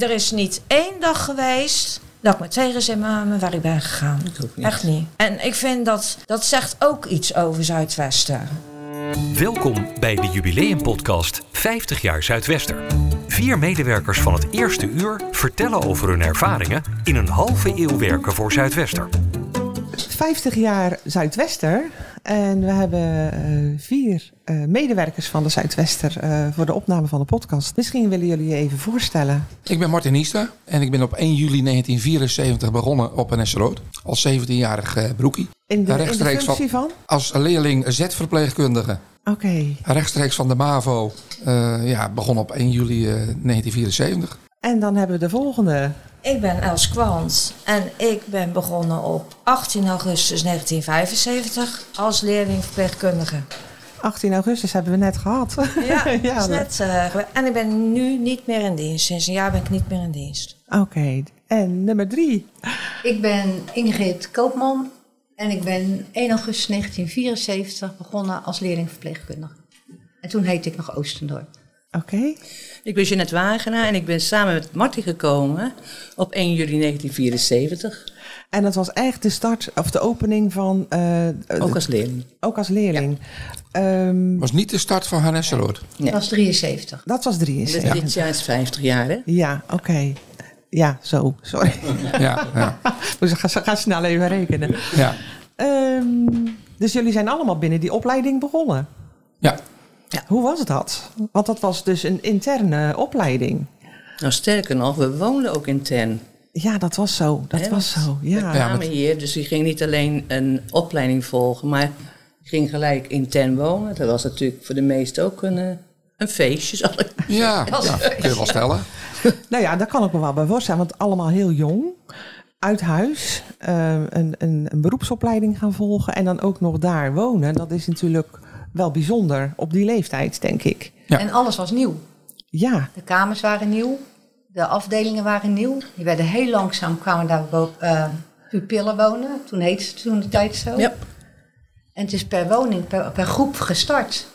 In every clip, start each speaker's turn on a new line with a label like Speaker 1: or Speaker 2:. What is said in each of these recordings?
Speaker 1: er is niet één dag geweest dat ik met tegen zin mamen waar ik ben gegaan.
Speaker 2: Dat hoeft niet.
Speaker 1: Echt niet. En ik vind dat, dat zegt ook iets over Zuidwesten.
Speaker 3: Welkom bij de jubileumpodcast 50 jaar Zuidwester. Vier medewerkers van het eerste uur vertellen over hun ervaringen in een halve eeuw werken voor Zuidwester.
Speaker 2: 50 jaar Zuidwester. En we hebben eh, vier eh, medewerkers van de Zuidwester eh, voor de opname van de podcast. Misschien willen jullie je even voorstellen.
Speaker 4: Ik ben Martin Niesta en ik ben op 1 juli 1974 begonnen op NS Rood als 17-jarig eh, broekie.
Speaker 2: In de, in de
Speaker 4: Rechtstreeks
Speaker 2: functie van?
Speaker 4: Als leerling Z-verpleegkundige,
Speaker 2: Oké.
Speaker 4: rechtstreeks van de MAVO, eh, ja, begon op 1 juli eh, 1974.
Speaker 2: En dan hebben we de volgende.
Speaker 1: Ik ben Els Kwant en ik ben begonnen op 18 augustus 1975 als leerling verpleegkundige.
Speaker 2: 18 augustus hebben we net gehad.
Speaker 1: Ja,
Speaker 2: Ja,
Speaker 1: is
Speaker 2: dat-
Speaker 1: net, eh, gewe- en ik ben nu niet meer in dienst. Sinds een jaar ben ik niet meer in dienst.
Speaker 2: Oké. En nummer drie.
Speaker 5: Ik ben Ingrid Koopman en ik ben 1 augustus 1974 begonnen als leerling verpleegkundige. En toen heette ik nog Oostendorp.
Speaker 2: Oké.
Speaker 6: Ik ben Jeanette Wagenaar en ik ben samen met Martin gekomen op 1 juli 1974,
Speaker 2: En dat was echt de start of de opening van. eh, eh,
Speaker 6: ook als leerling.
Speaker 2: ook als leerling. Ehm,
Speaker 4: was niet de start van NS Rood.
Speaker 5: Dat
Speaker 6: Ja.
Speaker 5: was 73.
Speaker 2: dat was
Speaker 6: Dus
Speaker 2: 73.
Speaker 6: dit jaar is 50 jaar, hè?
Speaker 2: Ja, oké. Ja, zo. Sorry.
Speaker 4: Ja, ja,
Speaker 2: Dus ga, ga snel even rekenen.
Speaker 4: ja,
Speaker 2: Ehm, dus jullie zijn allemaal binnen die opleiding begonnen.
Speaker 4: ja.
Speaker 2: Hoe was dat? Want dat was dus een interne opleiding.
Speaker 6: Nou, sterker nog, we woonden ook intern.
Speaker 2: Ja, dat was zo. Dat
Speaker 6: Hè,
Speaker 2: was
Speaker 6: want
Speaker 2: zo.
Speaker 6: We
Speaker 2: Ja.
Speaker 4: Ja.
Speaker 6: kwamen
Speaker 4: want-
Speaker 6: hier, dus die ging niet alleen een opleiding volgen, maar ging gelijk intern wonen. Dat was natuurlijk voor de meesten ook een, eh, een feestje, zal ik
Speaker 4: Ja, ja, kun je wel stellen.
Speaker 2: Nou ja, daar kan ik me wel bij voorstellen. Want allemaal heel jong. Uit huis. ehm, een, een, een beroepsopleiding gaan volgen. En dan ook nog daar wonen. Dat is natuurlijk wel bijzonder. Op die leeftijd, denk ik.
Speaker 4: Ja.
Speaker 5: En alles was nieuw.
Speaker 2: Ja.
Speaker 5: De kamers waren nieuw, de afdelingen waren nieuw. Die werden heel langzaam, kwamen daar wo- eh, pupillen wonen. Toen heette het toen de tijd zo.
Speaker 6: Ja.
Speaker 5: En het is per woning, per, per groep gestart.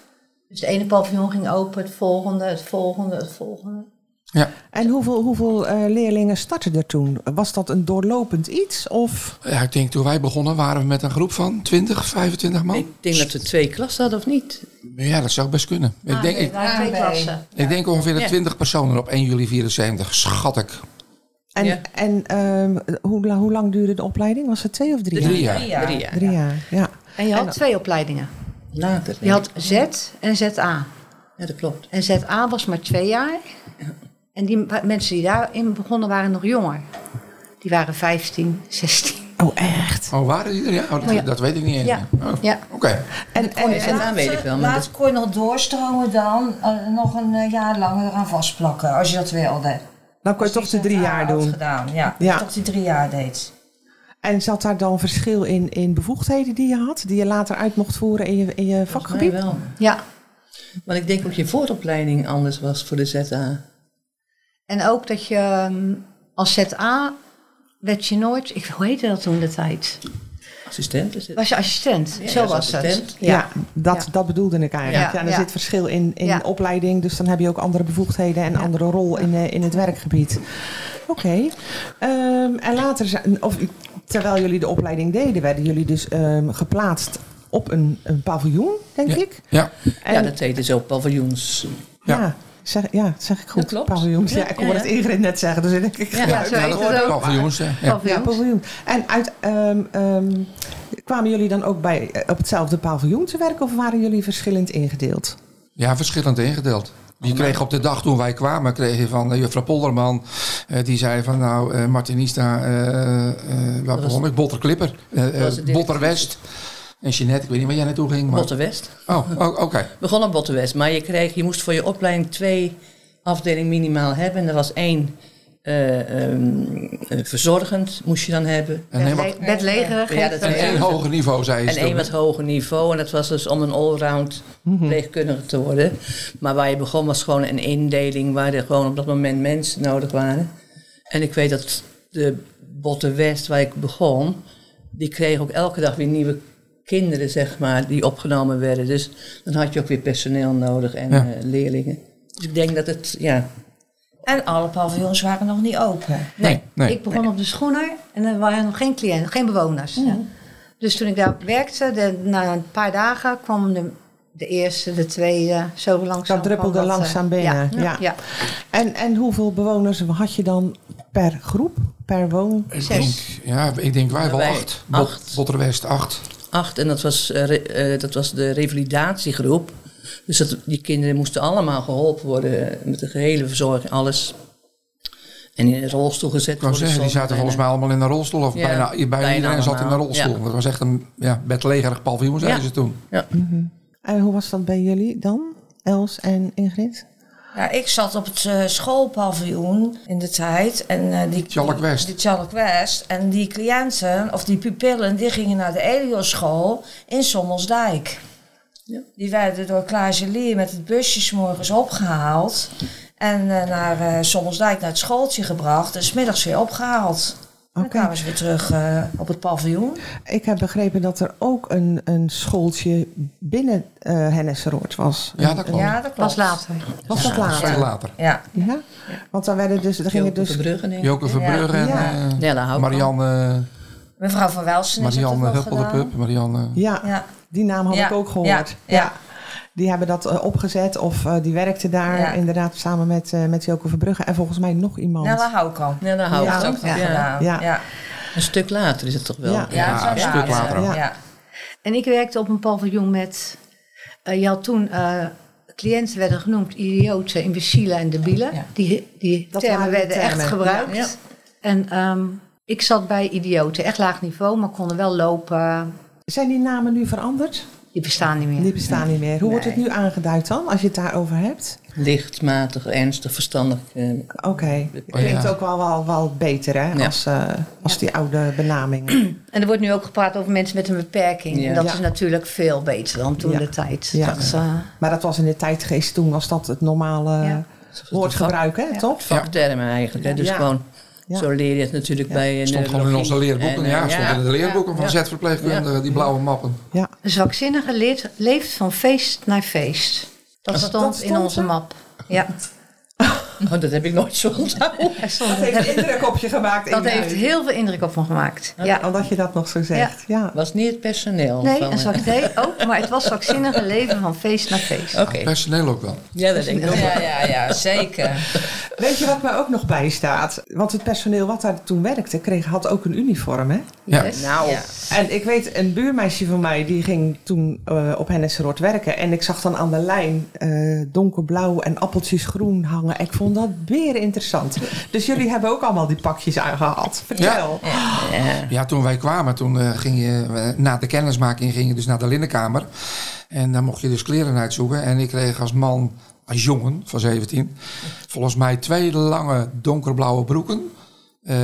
Speaker 5: Dus de ene paviljoen ging open, het volgende, het volgende, het volgende.
Speaker 4: Ja.
Speaker 2: En hoeveel, hoeveel eh, leerlingen startten er toen? Was dat een doorlopend iets? Of
Speaker 4: ja, ik denk toen wij begonnen waren we met een groep van 20, 25
Speaker 2: Oh.
Speaker 4: man.
Speaker 6: Ik denk dat we twee klassen hadden, of niet?
Speaker 4: Ja, dat zou best kunnen. Ik denk, ik,
Speaker 5: Er waren twee klassen.
Speaker 4: ik denk ongeveer de
Speaker 6: Ja.
Speaker 4: 20 personen op 1 juli 74, schat ik.
Speaker 2: En,
Speaker 6: Ja.
Speaker 2: en ehm, hoe, la- hoe lang duurde de opleiding? Was het twee of drie
Speaker 4: Drie
Speaker 2: jaar?
Speaker 4: jaar.
Speaker 6: Ja. Drie
Speaker 2: Drie
Speaker 6: jaar.
Speaker 2: jaar, ja.
Speaker 5: En je had twee opleidingen.
Speaker 6: Later.
Speaker 5: Je had Z en ZA.
Speaker 6: Ja, dat klopt.
Speaker 5: En ZA was maar twee jaar. En die pa- mensen die daarin begonnen waren nog jonger. Die waren 15, 16.
Speaker 2: Oh, echt?
Speaker 4: Oh, waren die er? Ja, oh, dat,
Speaker 5: Oh, ja.
Speaker 4: dat weet ik niet eens.
Speaker 5: Ja.
Speaker 4: meer. Oh,
Speaker 5: Ja.
Speaker 4: Oké.
Speaker 2: En, en,
Speaker 6: Ja, dat weet ik wel, maar
Speaker 1: Laat kon je nog doorstromen dan, eh, nog een eh, jaar lang eraan vastplakken, als je dat wilde.
Speaker 2: dan kon je toch de drie
Speaker 1: Ah,
Speaker 2: jaar
Speaker 1: had
Speaker 2: doen.
Speaker 1: gedaan, ja.
Speaker 2: Ja.
Speaker 1: Toch die drie jaar deed.
Speaker 2: En zat daar dan verschil in, in bevoegdheden die je had? Die je later uit mocht voeren in je, in je
Speaker 6: Volgens mij
Speaker 2: vakgebied?
Speaker 6: wel.
Speaker 5: Ja.
Speaker 6: Want ik denk ook je vooropleiding anders was voor de ZA.
Speaker 5: En ook dat je ehm, als ZA werd je nooit... Ik, hoe heette dat toen de tijd?
Speaker 6: Assistent is het.
Speaker 5: Was je assistent?
Speaker 6: Ja,
Speaker 5: Zo
Speaker 6: als
Speaker 5: was
Speaker 6: assistent.
Speaker 5: het.
Speaker 2: Ja, dat,
Speaker 5: Ja.
Speaker 2: dat bedoelde ik eigenlijk. Ja,
Speaker 5: Ja.
Speaker 2: er
Speaker 5: Ja.
Speaker 2: zit verschil in, in
Speaker 5: Ja.
Speaker 2: opleiding, dus dan heb je ook andere bevoegdheden en andere rol in, eh, in het werkgebied. Oké. Ehm, en later, zijn- of, terwijl jullie de opleiding deden, werden jullie dus ehm, geplaatst op een, een paviljoen, denk
Speaker 4: Ja.
Speaker 2: ik.
Speaker 4: Ja.
Speaker 2: En,
Speaker 6: ja, dat heette zo paviljoens.
Speaker 2: ja.
Speaker 4: ja.
Speaker 2: Zeg, ja, zeg ik goed.
Speaker 6: klopt.
Speaker 2: Paviljoens. Ja,
Speaker 6: Ja,
Speaker 2: ik
Speaker 6: ja,
Speaker 2: hoorde
Speaker 6: ja.
Speaker 2: het Ingrid net zeggen. Dus ik, ik,
Speaker 5: Ja, zo heet het ook. Oh.
Speaker 4: Wel, jongens, ja. ja.
Speaker 2: Ja,
Speaker 5: Paviljoens.
Speaker 2: paviljoen. En uit, ehm, ehm, kwamen jullie dan ook bij, eh, op hetzelfde paviljoen te werken of waren jullie verschillend ingedeeld?
Speaker 4: Ja, verschillend ingedeeld. Je kreeg op de dag toen wij kwamen, kreeg je van eh, juffrouw Polderman. eh, die zei van nou, eh, Martinista, eh, eh, waar begon ik? Botter Klipper, eh,
Speaker 6: was
Speaker 4: eh,
Speaker 6: de
Speaker 4: Botter
Speaker 6: directrice.
Speaker 4: West. En Jeanette, ik weet niet waar jij naartoe ging. Maar...
Speaker 6: Botte West.
Speaker 4: Oh, oh, oké.
Speaker 6: Begon op Botte West, maar je, kreeg, je moest voor je opleiding twee afdelingen minimaal hebben. En er was één eh, ehm, eh, verzorgend, moest je dan hebben.
Speaker 4: En een wat,
Speaker 5: Bedle- bedlegerig.
Speaker 6: Ja, dat
Speaker 5: heet
Speaker 4: en
Speaker 5: het.
Speaker 4: één hoger niveau, zei
Speaker 6: En
Speaker 4: ze.
Speaker 6: één
Speaker 4: toen.
Speaker 6: wat hoger niveau. En dat was dus om een allround
Speaker 4: Mhm.
Speaker 6: pleegkundige te worden. Maar waar je begon was gewoon een indeling waar er gewoon op dat moment mensen nodig waren. En ik weet dat de Botte West, waar ik begon, die kreeg ook elke dag weer nieuwe kinderen, zeg maar, die opgenomen werden. Dus dan had je ook weer personeel nodig en
Speaker 4: Ja.
Speaker 6: eh, leerlingen. Dus ik denk dat het, ja,
Speaker 1: En alle paviljoens waren nog niet open.
Speaker 4: Nee, nee.
Speaker 5: Ik begon op de schoener en er waren nog geen cliënten, geen bewoners.
Speaker 2: Mm.
Speaker 5: Dus toen ik daar werkte, de- na een paar dagen kwam de, de eerste, de tweede, zo langzaam.
Speaker 2: Dat druppelde
Speaker 5: kwam dat, eh,
Speaker 2: langzaam binnen. Ja.
Speaker 5: Ja, ja.
Speaker 2: En, en hoeveel bewoners had je dan per groep, per woon?
Speaker 4: Ik denk,
Speaker 5: Zes.
Speaker 4: ja, ik denk wij wel
Speaker 6: Wij
Speaker 4: acht. Bot-
Speaker 6: acht.
Speaker 4: Botterwest acht.
Speaker 6: acht. En dat was, eh, re- eh, dat was de revalidatiegroep. Dus dat, die kinderen moesten allemaal geholpen worden eh, met de gehele verzorging, alles. En in een rolstoel gezet
Speaker 4: Ik wou
Speaker 6: worden.
Speaker 4: zeggen, die
Speaker 6: soms
Speaker 4: zaten
Speaker 6: bijna.
Speaker 4: volgens mij allemaal in een rolstoel. Of
Speaker 6: Ja,
Speaker 4: bijna, bijna,
Speaker 6: bijna
Speaker 4: iedereen zat in een
Speaker 6: allemaal,
Speaker 4: rolstoel.
Speaker 6: ja.
Speaker 4: Dat was echt een ja, bedlegerig paviljoen, zeiden
Speaker 6: Ja.
Speaker 4: ze toen.
Speaker 2: En hoe was dat bij jullie dan, Els en Ingrid?
Speaker 1: Ja, ik zat op het eh, schoolpaviljoen in de tijd. En, eh, die,
Speaker 4: Tjalk West.
Speaker 1: Die Tjalk West. En die cliënten, of die pupillen, die gingen naar de Elioschool in Sommelsdijk.
Speaker 6: Ja.
Speaker 1: Die werden door Klaas Leer met het busje 's morgens opgehaald. En eh, naar eh, Sommelsdijk naar het schooltje gebracht. En 's middags weer opgehaald.
Speaker 2: Oké.
Speaker 1: Dan kwamen ze weer terug eh, op het paviljoen.
Speaker 2: Ik heb begrepen dat er ook een, een schooltje binnen eh Hennesseroord was.
Speaker 4: Ja,
Speaker 2: Een-
Speaker 4: dat klopt.
Speaker 1: Ja, dat klopt.
Speaker 5: Pas later.
Speaker 2: Was dat later?
Speaker 4: Veel later.
Speaker 1: Ja.
Speaker 2: Ja? Want dan werden dus, er gingen
Speaker 6: Gingen
Speaker 2: dus...
Speaker 6: bruggen in.
Speaker 4: Joke Verbrugge en
Speaker 2: Ja.
Speaker 4: eh,
Speaker 6: Nella Houtkamp.
Speaker 4: Marianne,
Speaker 1: Mevrouw van Welsen is dat ook
Speaker 4: Marianne
Speaker 1: wel
Speaker 4: Huppel de
Speaker 1: gedaan.
Speaker 4: Pup. Marianne,
Speaker 2: Ja,
Speaker 1: Ja.
Speaker 2: die naam had
Speaker 1: Ja,
Speaker 2: ik ook
Speaker 1: ja,
Speaker 2: gehoord.
Speaker 1: ja.
Speaker 2: Die hebben dat eh, opgezet of eh, die werkte daar
Speaker 1: Ja.
Speaker 2: inderdaad samen met, eh, met Joke Verbrugge. En volgens mij nog iemand.
Speaker 1: Nella Houkamp.
Speaker 6: Ja, daar hou ik
Speaker 2: Ja,
Speaker 6: het ook
Speaker 1: Ook nog
Speaker 6: van. Ja.
Speaker 1: gedaan.
Speaker 2: Ja.
Speaker 1: ja.
Speaker 6: Een stuk later is het toch wel.
Speaker 2: Ja.
Speaker 1: Ja,
Speaker 4: Ja,
Speaker 1: dat
Speaker 4: een
Speaker 1: zou
Speaker 4: stuk
Speaker 1: later.
Speaker 4: later.
Speaker 1: Ja.
Speaker 5: En ik werkte op een paviljoen met. eh, je had toen. eh, cliënten werden genoemd idioten, imbecielen en debielen.
Speaker 6: Ja.
Speaker 5: Die, die
Speaker 2: Dat
Speaker 5: termen
Speaker 2: waren de
Speaker 5: werden echt
Speaker 2: termen.
Speaker 5: gebruikt.
Speaker 6: Ja. Ja.
Speaker 5: En ehm, ik zat bij idioten, echt laag niveau, maar konden wel lopen.
Speaker 2: Zijn die namen nu veranderd?
Speaker 5: Die bestaan niet meer.
Speaker 2: Die bestaan niet meer. Hoe wordt het nu aangeduid dan, als je het daarover hebt?
Speaker 6: Licht, matig, ernstig, verstandig. eh,
Speaker 2: Oké, klinkt ook wel, wel, wel beter hè,
Speaker 6: Ja.
Speaker 2: als, eh, als die oude benaming.
Speaker 5: En er wordt nu ook gepraat over mensen met een beperking.
Speaker 6: Ja.
Speaker 5: En dat
Speaker 2: Ja.
Speaker 5: is natuurlijk veel beter dan toen
Speaker 2: Ja.
Speaker 5: de tijd.
Speaker 2: Ja.
Speaker 5: Dat, eh,
Speaker 2: maar dat was in de tijdgeest, toen was dat het normale
Speaker 5: Ja.
Speaker 2: woordgebruik hè, toch?
Speaker 6: vaktermen eigenlijk. Hè? Dus
Speaker 2: Ja.
Speaker 6: gewoon,
Speaker 2: Ja.
Speaker 6: zo leer je het natuurlijk bij een eh,
Speaker 4: stond gewoon in onze leerboeken. ja, stond in de leerboeken van zetverpleegkundigen, die blauwe mappen.
Speaker 2: Ja.
Speaker 5: Een zwakzinnige leert, leeft van feest naar feest. Dat, stond,
Speaker 2: dat stond
Speaker 5: in onze
Speaker 2: er?
Speaker 5: map. Ja,
Speaker 6: Oh, dat heb ik nooit zo onthouden.
Speaker 5: dat, stond
Speaker 2: Dat
Speaker 5: er.
Speaker 2: heeft indruk op je gemaakt.
Speaker 5: dat
Speaker 2: in je
Speaker 5: heeft
Speaker 2: huis.
Speaker 5: heel veel indruk op me gemaakt. Ja.
Speaker 2: Omdat je dat nog zo zegt. Ja.
Speaker 6: was niet het personeel.
Speaker 5: Nee,
Speaker 6: van,
Speaker 5: een
Speaker 6: eh,
Speaker 5: zwak, nee, ook, maar het was zwakzinnige leven van feest naar feest.
Speaker 2: Oh.
Speaker 6: Oké.
Speaker 4: Personeel ook wel.
Speaker 6: Ja, dat denk ik ook. wel.
Speaker 1: Ja, ja, ja, zeker.
Speaker 2: Weet je wat mij ook nog bijstaat? Want het personeel wat daar toen werkte, kreeg, had ook een uniform hè?
Speaker 4: Ja.
Speaker 5: Yes.
Speaker 6: Nou,
Speaker 1: Ja.
Speaker 2: En ik weet, een buurmeisje van mij die ging toen eh, op Hennessenrot werken. En ik zag dan aan de lijn eh, donkerblauw en appeltjes groen hangen. Ik vond dat weer interessant. Dus jullie hebben ook allemaal die pakjes aangehad. Vertel.
Speaker 4: Ja, toen wij kwamen, toen eh, ging je eh, na de kennismaking ging je dus naar de linnenkamer. En daar mocht je dus kleren uitzoeken. En ik kreeg als man, als jongen van 17, volgens mij twee lange donkerblauwe broeken. Eh,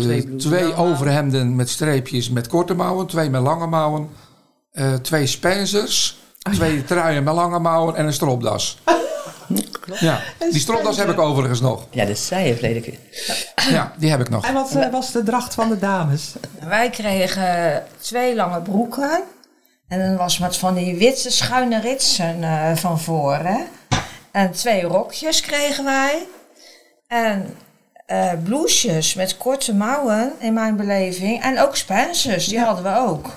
Speaker 4: twee,
Speaker 6: blouses. Lange mouwen.
Speaker 4: overhemden met streepjes met korte mouwen, twee met lange mouwen, eh, twee Spencers, twee truien met lange mouwen en een stropdas. Ja, die stropdas heb ik overigens nog.
Speaker 6: ja, dat zei je verleden keer.
Speaker 4: Ja, die heb ik nog.
Speaker 2: En wat eh, was de dracht van de dames?
Speaker 1: Wij kregen twee lange broeken. En dan was met van die witte schuine ritsen eh, van voren. En twee rokjes kregen wij. En eh blouses met korte mouwen, in mijn beleving. En ook Spencers, die hadden we ook.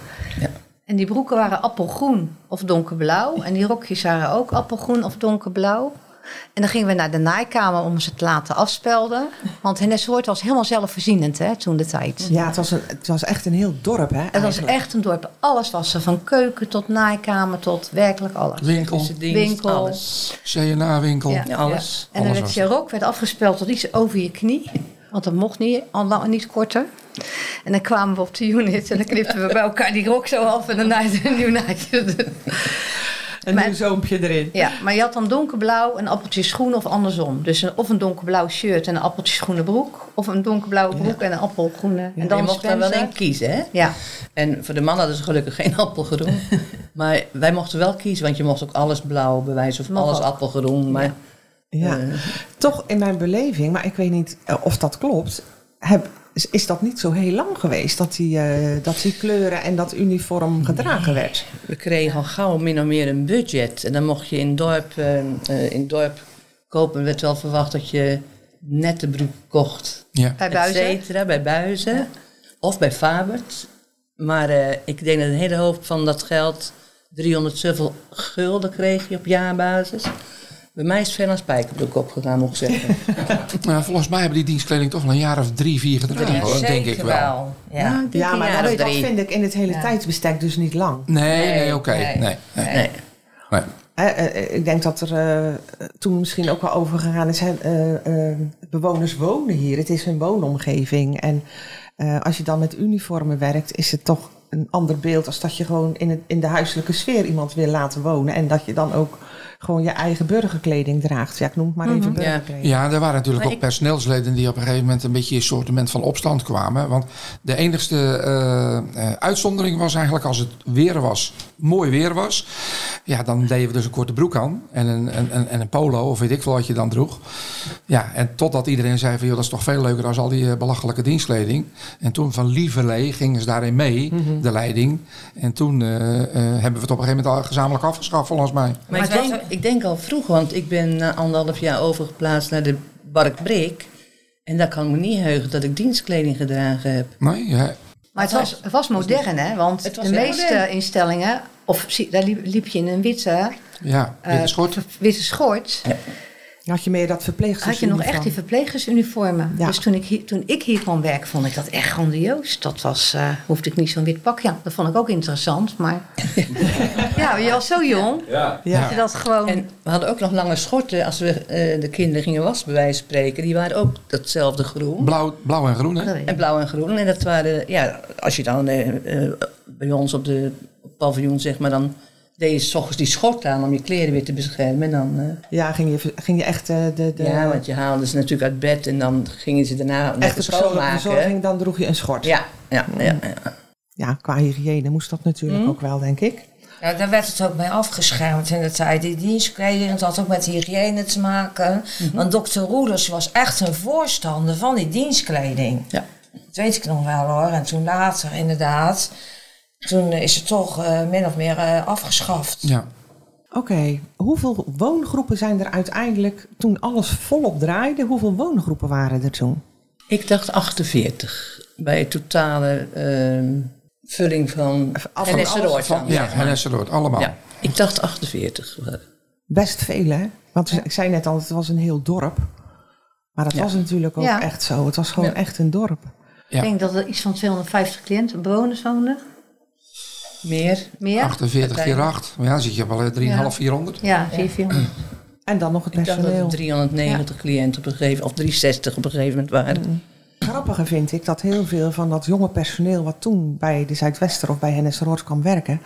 Speaker 5: En die broeken waren appelgroen of donkerblauw. En die rokjes waren ook appelgroen of donkerblauw. En dan gingen we naar de naaikamer om ze te laten afspelden. Want Hennes Hoort was helemaal zelfvoorzienend hè, toen de tijd.
Speaker 2: Ja, het was, een, het was echt een heel dorp hè?
Speaker 5: Het was
Speaker 2: eigenlijk.
Speaker 5: echt een dorp. Alles was er. Van keuken tot naaikamer tot werkelijk alles.
Speaker 4: Winkel,
Speaker 6: Onze dienst,
Speaker 5: Winkel.
Speaker 6: alles.
Speaker 4: CNA-winkel.
Speaker 6: Ja, alles.
Speaker 5: En dan
Speaker 4: Alles
Speaker 5: werd
Speaker 4: was
Speaker 5: je rok werd afgespeld tot iets over je knie. Want dat mocht niet, al lang niet korter. En dan kwamen we op de unit en dan knipten we bij elkaar die rok zo af en dan naaide een nieuw naaitje.
Speaker 2: Een
Speaker 5: maar-
Speaker 2: nieuw zoompje erin.
Speaker 5: Ja, maar je had dan donkerblauw en appeltjes groen of andersom. Dus een, of een donkerblauw shirt en een appeltjes groene broek. Of een donkerblauwe broek en een appelgroene. En
Speaker 6: je
Speaker 5: dan
Speaker 6: mocht daar wel
Speaker 5: Spencer.
Speaker 6: één kiezen, hè?
Speaker 5: Ja,
Speaker 6: En voor de man hadden ze gelukkig geen appelgroen. maar wij mochten wel kiezen, want je mocht ook alles blauw bewijzen of
Speaker 5: Mocht
Speaker 6: alles
Speaker 5: ook.
Speaker 6: appelgroen. Maar
Speaker 2: Ja. Toch in mijn beleving, maar ik weet niet eh, of dat klopt, heb, is, is dat niet zo heel lang geweest dat die, eh, dat die kleuren en dat uniform gedragen werd.
Speaker 6: we kregen al gauw min of meer een budget. En dan mocht je in dorp, eh, eh, in dorp kopen, werd wel verwacht dat je nette broek kocht.
Speaker 4: Ja.
Speaker 5: Bij Buizen?
Speaker 6: Et cetera, bij Buizen. Of bij Fabert. Maar eh, ik denk dat een hele hoop van dat geld, 300 zoveel gulden kreeg je op jaarbasis. Bij mij is Fernand Spijkerbroek opgegaan, moet ik zeggen.
Speaker 4: Nou, volgens mij hebben die dienstkleding toch al een jaar of drie, vier gedragen, hoor, denk ik wel.
Speaker 1: Ja.
Speaker 2: Ja, maar
Speaker 6: jaar
Speaker 2: dat,
Speaker 6: of
Speaker 2: dat
Speaker 6: drie.
Speaker 2: vind ik in het hele
Speaker 1: Ja.
Speaker 2: tijdsbestek dus niet lang.
Speaker 4: Nee, nee,
Speaker 1: Nee,
Speaker 4: oké.
Speaker 1: nee.
Speaker 4: Nee, nee,
Speaker 6: nee.
Speaker 4: nee.
Speaker 2: Hè, eh, ik denk dat er eh, toen misschien ook wel over gegaan is. hè, eh, eh, bewoners wonen hier. Het is hun woonomgeving. En eh, als je dan met uniformen werkt, is het toch een ander beeld als dat je gewoon in, het, in de huiselijke sfeer iemand wil laten wonen. En dat je dan ook gewoon je eigen burgerkleding draagt. Ja, ik noem het maar even
Speaker 6: Mhm.
Speaker 2: burgerkleding.
Speaker 4: Ja, er waren natuurlijk
Speaker 6: Maar
Speaker 4: ook
Speaker 6: ik-
Speaker 4: personeelsleden die op een gegeven moment een beetje in een soortement van opstand kwamen. Want de enigste eh, eh, uitzondering was eigenlijk als het weer was, mooi weer was. Ja, dan deden we dus een korte broek aan en een, een, een, en een polo of weet ik veel wat je dan droeg. Ja, en totdat iedereen zei van joh, dat is toch veel leuker als al die eh, belachelijke dienstkleding. En toen van lieverlee gingen ze daarin mee,
Speaker 6: Mhm.
Speaker 4: de leiding. En toen eh, eh, hebben we het op een gegeven moment al gezamenlijk afgeschaft volgens mij.
Speaker 6: Maar,
Speaker 1: Maar
Speaker 6: ik,
Speaker 1: het was
Speaker 6: denk, ik denk al vroeg, want ik ben na anderhalf jaar overgeplaatst naar de Bark Breek. En daar kan ik me niet heugen dat ik dienstkleding gedragen heb.
Speaker 4: Nee, ja.
Speaker 5: Maar het was, het was modern, hè? Want
Speaker 6: Het was
Speaker 5: de
Speaker 6: heel
Speaker 5: meeste
Speaker 6: modern.
Speaker 5: instellingen, of zie- daar liep, liep je in een witte,
Speaker 4: Ja,
Speaker 5: eh,
Speaker 4: witte schort.
Speaker 5: witte schort.
Speaker 2: Had je meer dat verpleegsters?
Speaker 5: Had je nog echt die verplegersuniformen?
Speaker 2: Ja.
Speaker 5: Dus toen ik, hier, toen ik hier kwam werken, vond ik dat echt grandioos. Dat was, eh, hoefde ik niet zo'n wit pakje aan. Dat vond ik ook interessant, maar... ja, je was zo jong. Dat je dat
Speaker 1: Oh.
Speaker 5: gewoon...
Speaker 6: En we hadden ook nog lange schorten als we eh, de kinderen gingen wassen, bij wijze van spreken. Die waren ook datzelfde groen.
Speaker 4: Blauw, blauw en groen, hè?
Speaker 5: dat weet
Speaker 6: En
Speaker 5: ik.
Speaker 6: blauw en groen. En dat waren, ja, als je dan eh, eh, bij ons op de paviljoen, zeg maar, dan deed je 's ochtends die schort aan om je kleren weer te beschermen. En dan, eh,
Speaker 2: Ja, ging je, ver- ging je echt eh, de, de
Speaker 6: ja, want je haalde ze natuurlijk uit bed en dan gingen ze daarna
Speaker 2: echte
Speaker 6: lekker
Speaker 2: persoonlijke
Speaker 6: schoonmaken.
Speaker 2: verzorging? Dan droeg je een schort.
Speaker 6: Ja, ja, ja, ja.
Speaker 2: Ja, qua hygiëne moest dat
Speaker 6: Hm?
Speaker 2: natuurlijk ook wel, denk ik.
Speaker 1: Ja, nou, daar werd het ook mee afgeschermd in de tijd. Die dienstkleding, het had ook met hygiëne te maken.
Speaker 5: Mhm.
Speaker 1: Want dokter Roelers was echt een voorstander van die dienstkleding.
Speaker 6: Ja.
Speaker 1: Dat weet ik nog wel hoor. En toen later inderdaad, toen eh, is het toch eh, min of meer eh, afgeschaft.
Speaker 4: Ja.
Speaker 2: Oké, hoeveel woongroepen zijn er uiteindelijk toen alles volop draaide? Hoeveel woongroepen waren er toen?
Speaker 6: Ik dacht 48 bij totale ehm, vulling van
Speaker 2: af-
Speaker 6: en
Speaker 2: van
Speaker 6: Esseroord dan,
Speaker 4: Ja,
Speaker 6: zeg maar.
Speaker 4: en Esseloord, allemaal.
Speaker 6: Ja, ik dacht 48.
Speaker 2: Best veel, hè? Want ik zei net al, het was een heel dorp. Maar dat
Speaker 6: Ja.
Speaker 2: was natuurlijk ook
Speaker 5: Ja.
Speaker 2: echt zo. Het was gewoon
Speaker 6: Ja.
Speaker 2: echt een dorp.
Speaker 4: Ja.
Speaker 5: Ik denk dat er iets van 250 cliënten, bewoners woonden.
Speaker 6: Meer?
Speaker 5: Meer?
Speaker 4: 48 keer 8. Ja, dan zit je op wel eh, 3,5, 400.
Speaker 5: Ja, 400.
Speaker 2: En dan nog het
Speaker 6: Ik dacht dat
Speaker 2: personeel.
Speaker 6: er 390 cliënten op een gegeven of 360 op een gegeven moment waren.
Speaker 2: Grappiger vind ik dat heel veel van dat jonge personeel... wat toen bij de Zuidwester of bij Hennis Roord kwam werken...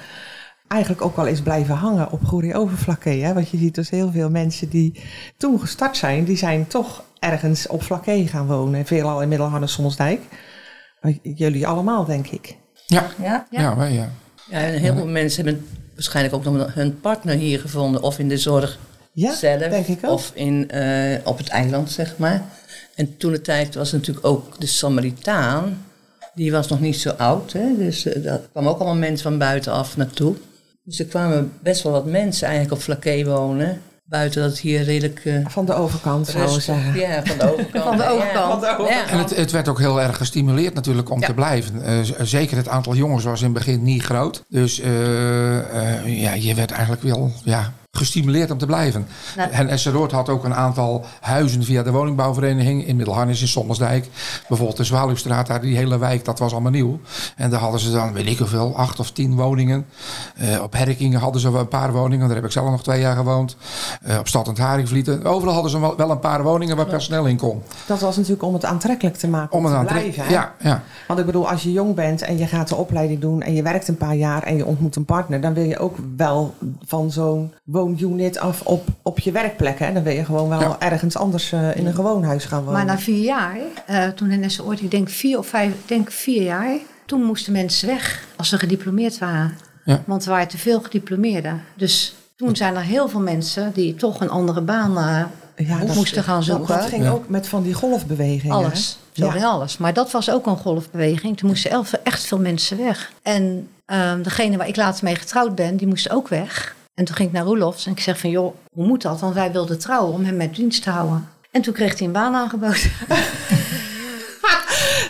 Speaker 2: eigenlijk ook wel is blijven hangen op Goeree Overflakke. Hè? Want je ziet dus heel veel mensen die toen gestart zijn... die zijn toch ergens op Flakke gaan wonen. Veelal in Middelharde Sommersdijk. Maar j- Jullie allemaal, denk ik.
Speaker 4: Ja,
Speaker 1: Ja?
Speaker 4: ja. ja, wij, ja.
Speaker 6: Ja, en heel veel mensen hebben waarschijnlijk ook nog hun partner hier gevonden. Of in de zorg
Speaker 2: Ja,
Speaker 6: zelf.
Speaker 2: denk ik ook.
Speaker 6: Of in, eh, op het eiland, zeg maar. En toen de tijd was natuurlijk ook de Samaritaan. Die was nog niet zo oud. Hè? Dus eh, daar kwamen ook allemaal mensen van buitenaf naartoe. Dus er kwamen best wel wat mensen eigenlijk op Flaké wonen. Buiten dat het hier redelijk... eh,
Speaker 2: Van de overkant, zou ik
Speaker 6: rustig-
Speaker 2: zeggen.
Speaker 6: Ja, van de overkant.
Speaker 5: Van de
Speaker 6: Ja,
Speaker 5: overkant.
Speaker 6: van de overkant.
Speaker 4: En het, het werd ook heel erg gestimuleerd natuurlijk om
Speaker 6: Ja.
Speaker 4: te blijven. Eh, z- zeker het aantal jongens was in het begin niet groot. Dus eh, eh, ja, je werd eigenlijk wel ja, gestimuleerd om te blijven.
Speaker 5: Nou-
Speaker 4: en Esseroord had ook een aantal huizen via de woningbouwvereniging. In Middelharnis, in Sommersdijk. Bijvoorbeeld de Zwaluwstraat, daar die hele wijk, dat was allemaal nieuw. En daar hadden ze dan, weet ik hoeveel, acht of tien woningen. Eh, op Herkingen hadden ze wel een paar woningen. Daar heb ik zelf nog twee jaar gewoond. Eh, op Stad en Haringvlieten. Overal hadden ze wel, wel een paar woningen waar personeel in kon.
Speaker 2: Dat was natuurlijk om het aantrekkelijk te maken. Om,
Speaker 4: Om het
Speaker 2: te
Speaker 4: aan te
Speaker 2: blijven. hè?
Speaker 4: Ja, ja.
Speaker 2: Want ik bedoel, als je jong bent en je gaat de opleiding doen en je werkt een paar jaar en je ontmoet een partner, dan wil je ook wel van zo'n woonunit af op, op je werkplek. Hè? Dan wil je gewoon wel
Speaker 4: Ja.
Speaker 2: ergens anders eh, in een gewoon huis gaan wonen.
Speaker 5: Maar na vier jaar, eh, toen Henesse Oort, ik denk vier of vijf, ik denk vier jaar, toen moesten mensen weg als ze gediplomeerd waren.
Speaker 4: Ja.
Speaker 5: Want er waren te veel gediplomeerden. Dus toen zijn er heel veel mensen die toch een andere baan eh
Speaker 2: Ja, dat-
Speaker 5: moesten gaan
Speaker 2: dat-
Speaker 5: zoeken.
Speaker 2: Dat, ging
Speaker 4: Ja.
Speaker 2: ook met van die golfbewegingen. hè?
Speaker 5: alles, zo in
Speaker 2: Ja.
Speaker 5: alles. Maar dat was ook een golfbeweging. Toen moesten elf- echt veel mensen weg. En ehm, degene waar ik laatst mee getrouwd ben, die moest ook weg. En toen ging ik naar Roelofs en ik zeg van, joh, hoe moet dat? Want wij wilden trouwen om hem met dienst te houden. En toen kreeg hij een baan aangeboden.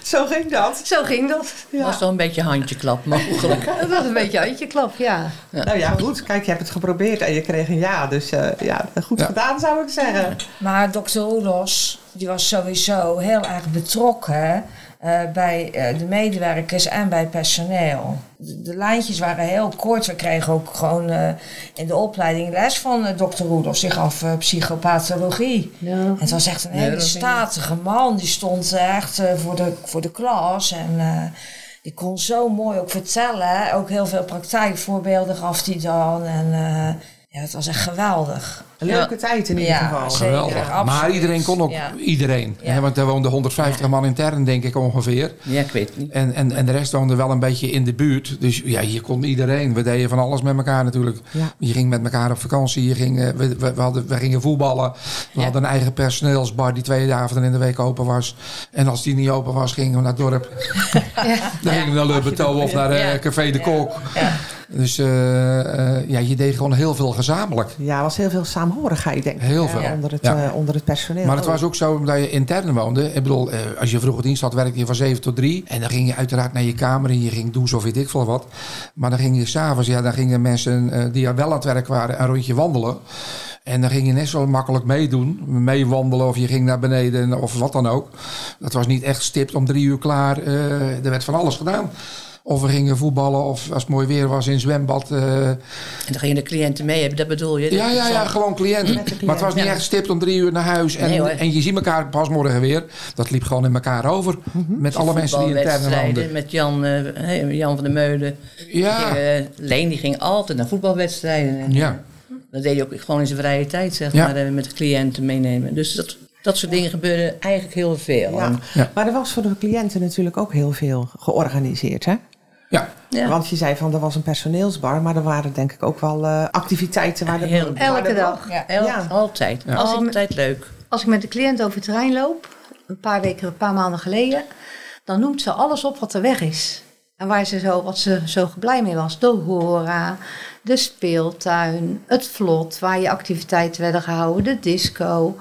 Speaker 2: Zo ging dat.
Speaker 5: Zo ging dat.
Speaker 6: Was toch een beetje handjeklap mogelijk.
Speaker 5: Dat was een beetje uitjeklap, ja.
Speaker 2: Nou ja, goed. Kijk, je hebt het geprobeerd en je kreeg een ja. Dus eh, ja, goed
Speaker 4: Ja.
Speaker 2: gedaan zou ik zeggen.
Speaker 1: Maar dokter Roelos, die was sowieso heel erg betrokken eh, bij eh, de medewerkers en bij personeel. De, de lijntjes waren heel kort. We kregen ook gewoon eh, in de opleiding les van eh, dokter Roelos. zich af eh, psychopathologie. En het was echt een hele
Speaker 6: Neurologie.
Speaker 1: statige man. Die stond eh, echt eh, voor, de, voor de klas. En eh, die kon zo mooi ook vertellen. Ook heel veel praktijkvoorbeelden gaf hij dan. En eh, ja, het was echt geweldig.
Speaker 2: Een leuke tijd in ieder
Speaker 1: Ja,
Speaker 2: geval.
Speaker 1: zeker.
Speaker 4: Geweldig.
Speaker 1: absoluut.
Speaker 4: maar iedereen kon ook
Speaker 1: Ja.
Speaker 4: iedereen.
Speaker 1: Ja.
Speaker 4: Hè, want er woonden 150 man intern, denk ik ongeveer.
Speaker 6: Ja, ik weet het niet.
Speaker 4: En, en, en de rest woonde wel een beetje in de buurt. Dus ja, hier kon iedereen. We deden van alles met elkaar natuurlijk.
Speaker 2: Ja.
Speaker 4: Je ging met elkaar op vakantie. Je ging, eh, we, we, we hadden, we gingen voetballen. We
Speaker 6: Ja.
Speaker 4: hadden een eigen personeelsbar die twee avonden in de week open was. En als die niet open was, gingen we naar het dorp. Dan gingen we naar Lubbeto of naar eh,
Speaker 6: Ja.
Speaker 4: Café de Kok.
Speaker 1: Ja.
Speaker 4: Dus eh, eh, ja, je deed gewoon heel veel gezamenlijk.
Speaker 2: Ja, er was heel veel saamhorigheid, denk ik.
Speaker 4: Heel
Speaker 2: hè,
Speaker 4: veel.
Speaker 2: Onder, het,
Speaker 4: Ja.
Speaker 2: eh, onder het personeel.
Speaker 4: Maar het was ook zo omdat je intern woonde. Ik bedoel, eh, als je vroeger dienst had, werkte je van 7 tot 3. En dan ging je uiteraard naar je kamer en je ging douchen of weet ik veel wat. Maar dan ging je s'avonds, ja, dan gingen mensen eh, die wel aan het werk waren een rondje wandelen. En dan ging je net zo makkelijk meedoen, meewandelen of je ging naar beneden of wat dan ook. Dat was niet echt stipt om drie uur klaar. eh, er werd van alles gedaan. Of we gingen voetballen of als het mooi weer was in het zwembad. eh,
Speaker 6: En dan gingen de cliënten mee hebben, dat bedoel je?
Speaker 4: ja, ja, ja,
Speaker 6: Zo.
Speaker 4: gewoon cliënten. Maar het was niet
Speaker 6: Ja.
Speaker 4: echt stipt om drie uur naar huis. En,
Speaker 6: Nee, hoor.
Speaker 4: en je ziet elkaar pas morgen weer. Dat liep gewoon in elkaar over. Met alle mensen die intern
Speaker 6: Mhm.
Speaker 4: woonden.
Speaker 6: Voetbalwedstrijden Met Jan, eh, hey, Jan van der Meulen.
Speaker 4: Ja.
Speaker 6: Die, eh, Leen die ging altijd naar voetbalwedstrijden. En,
Speaker 4: Ja.
Speaker 6: Dat deed hij ook gewoon in zijn vrije tijd, zeg
Speaker 4: Ja.
Speaker 6: maar, eh, met de cliënten meenemen. Dus dat, dat soort dingen gebeurde eigenlijk heel veel.
Speaker 2: Ja.
Speaker 6: En-
Speaker 4: Ja.
Speaker 2: Maar er was voor de cliënten natuurlijk ook heel veel georganiseerd, hè?
Speaker 4: ja,
Speaker 6: ja.
Speaker 2: Want je zei van, er was een personeelsbar, maar er waren denk ik ook wel eh, activiteiten waar de...
Speaker 6: Heel-
Speaker 2: waar de-
Speaker 5: Elke dag.
Speaker 1: Ja.
Speaker 6: El-
Speaker 2: Ja.
Speaker 6: Altijd.
Speaker 4: Ja.
Speaker 6: Als ik- Altijd leuk.
Speaker 5: Als ik met de cliënt over het terrein loop, een paar weken, een paar maanden geleden, dan noemt ze alles op wat er weg is. En waar ze zo, wat ze zo blij mee was. De hora, de speeltuin, het vlot waar je activiteiten werden gehouden, de disco.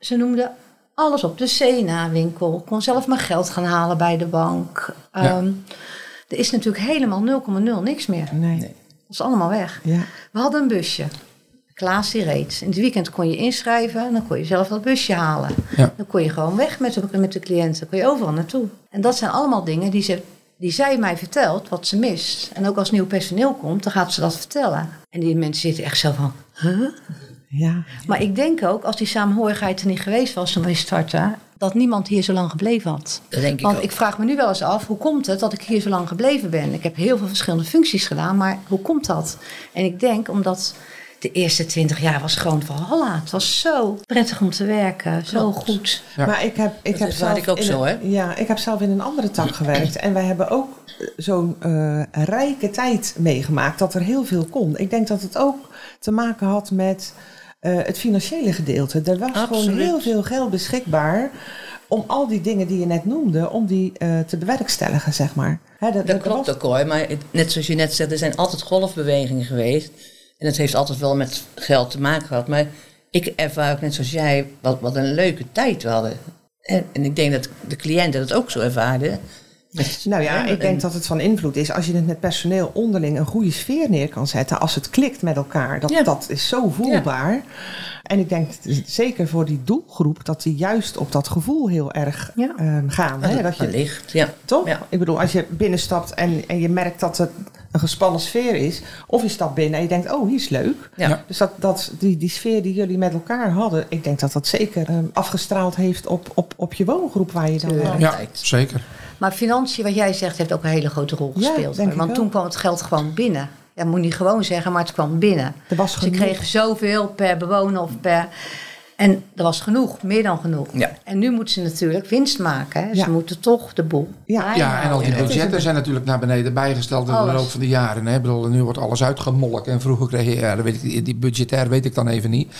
Speaker 5: Ze noemde alles op. De Sena-winkel. Kon zelf mijn geld gaan halen bij de bank.
Speaker 4: Ja.
Speaker 5: Ehm, er is natuurlijk helemaal 0,0 niks meer.
Speaker 2: Nee.
Speaker 5: Dat is allemaal weg.
Speaker 2: Ja.
Speaker 5: We hadden een busje. Klaas die reed. In het weekend kon je inschrijven en dan kon je zelf dat busje halen.
Speaker 4: Ja.
Speaker 5: Dan kon je gewoon weg met de, met de cliënten. Dan kon je overal naartoe. En dat zijn allemaal dingen die, ze, die zij mij vertelt, wat ze mist. En ook als nieuw personeel komt, dan gaat ze dat vertellen. En die mensen zitten echt zo van... Huh?
Speaker 2: Ja.
Speaker 5: Maar ik denk ook, als die saamhorigheid er niet geweest was toen wij starten... dat niemand hier zo lang gebleven had.
Speaker 6: Dat denk ik
Speaker 5: Want
Speaker 6: ook.
Speaker 5: ik vraag me nu wel eens af, hoe komt het dat ik hier zo lang gebleven ben? Ik heb heel veel verschillende functies gedaan, maar hoe komt dat? En ik denk omdat de eerste twintig jaar was gewoon van holla. Het was zo prettig om te werken, zo
Speaker 6: Klopt.
Speaker 5: goed.
Speaker 4: Ja.
Speaker 2: Maar ik heb, ik
Speaker 6: Dat
Speaker 2: heb
Speaker 6: is-
Speaker 2: zelf
Speaker 6: had ik ook
Speaker 2: in
Speaker 6: zo,
Speaker 2: een-
Speaker 6: hè?
Speaker 2: Ja, ik heb zelf in een andere tak gewerkt. En wij hebben ook eh, zo'n eh, rijke tijd meegemaakt dat er heel veel kon. Ik denk dat het ook te maken had met eh, het financiële gedeelte. Er was gewoon
Speaker 6: Absoluut.
Speaker 2: heel veel geld beschikbaar om al die dingen die je net noemde, om die eh, te bewerkstelligen, zeg maar. Hè,
Speaker 6: Dat klopt
Speaker 2: was-
Speaker 6: ook hoor. Maar het- net zoals je net zegt, er zijn altijd golfbewegingen geweest. En dat heeft altijd wel met geld te maken gehad. Maar ik ervaar ook net zoals jij, wat, wat een leuke tijd we hadden. En, en ik denk dat de cliënten dat ook zo ervaarden. Met-
Speaker 2: Nou ja,
Speaker 6: hè,
Speaker 2: ik denk
Speaker 6: en-
Speaker 2: dat het van invloed is als je het met personeel onderling een goede sfeer neer kan zetten. Als het klikt met elkaar, dat,
Speaker 6: Ja.
Speaker 2: dat is zo voelbaar. En ik denk t- zeker voor die doelgroep dat die juist op dat gevoel heel erg
Speaker 5: Ja.
Speaker 2: ehm, gaan.
Speaker 6: dat
Speaker 2: hè?
Speaker 6: het
Speaker 2: Dat je,
Speaker 6: wellicht, ja.
Speaker 2: toch?
Speaker 6: Ja.
Speaker 2: Ik bedoel, als je binnenstapt en, en je merkt dat er een gespannen sfeer is. Of je stapt binnen en je denkt, oh hier is leuk.
Speaker 6: Ja.
Speaker 4: Ja.
Speaker 2: Dus dat, dat, die, die sfeer die jullie met elkaar hadden, ik denk dat dat zeker ehm, afgestraald heeft op, op, op je woongroep waar je dan
Speaker 6: Ja.
Speaker 2: werkt.
Speaker 4: ja,
Speaker 6: Altijd.
Speaker 4: zeker.
Speaker 5: Maar financiën, wat jij zegt, heeft ook een hele grote rol
Speaker 2: Ja,
Speaker 5: gespeeld.
Speaker 2: denk ik
Speaker 5: Want
Speaker 2: ook.
Speaker 5: toen kwam het geld gewoon binnen. Ja, moet niet gewoon zeggen, maar het kwam binnen.
Speaker 2: eh, Er was
Speaker 5: Ze
Speaker 2: genoeg.
Speaker 5: kregen zoveel per bewoner of per... En er was genoeg, meer dan genoeg.
Speaker 6: Ja.
Speaker 5: En nu moeten ze natuurlijk winst maken. Hè.
Speaker 2: Ja.
Speaker 5: Ze moeten toch de boel
Speaker 2: Ja.
Speaker 6: Ah,
Speaker 4: Ja, en al die
Speaker 5: bijhouden.
Speaker 4: budgetten zijn natuurlijk naar beneden bijgesteld in de
Speaker 5: Alles.
Speaker 4: loop van de jaren. Hè. Ik bedoel, nu wordt alles uitgemolken. En vroeger kreeg je, ja, dat weet ik, die budgetair weet ik dan even niet.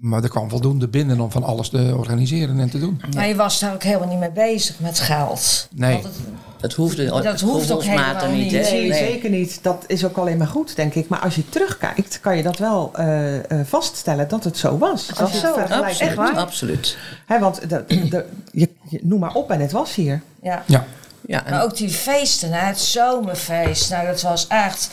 Speaker 4: Maar er kwam voldoende binnen om van alles te organiseren en te doen.
Speaker 1: Maar je was daar ook helemaal niet mee bezig met geld.
Speaker 4: Nee.
Speaker 1: Want het-
Speaker 6: Dat hoefde,
Speaker 1: Dat hoeft ook
Speaker 6: gevoelsmatig
Speaker 1: helemaal niet.
Speaker 6: hè?
Speaker 2: Nee,
Speaker 1: Nee.
Speaker 2: zeker niet. Dat is ook alleen maar goed, denk ik. Maar als je terugkijkt, kan je dat wel eh, eh, vaststellen dat het zo was.
Speaker 5: Het
Speaker 2: als
Speaker 5: was
Speaker 2: je het
Speaker 5: zo,
Speaker 2: vergelijkt met
Speaker 6: Absoluut,
Speaker 2: nu.
Speaker 6: absoluut.
Speaker 2: Hè, want de- de- je, je- noem maar op en het was hier.
Speaker 1: Ja.
Speaker 4: Ja.
Speaker 6: Ja, en
Speaker 1: Maar ook die feesten, hè, het zomerfeest. Nou, dat was echt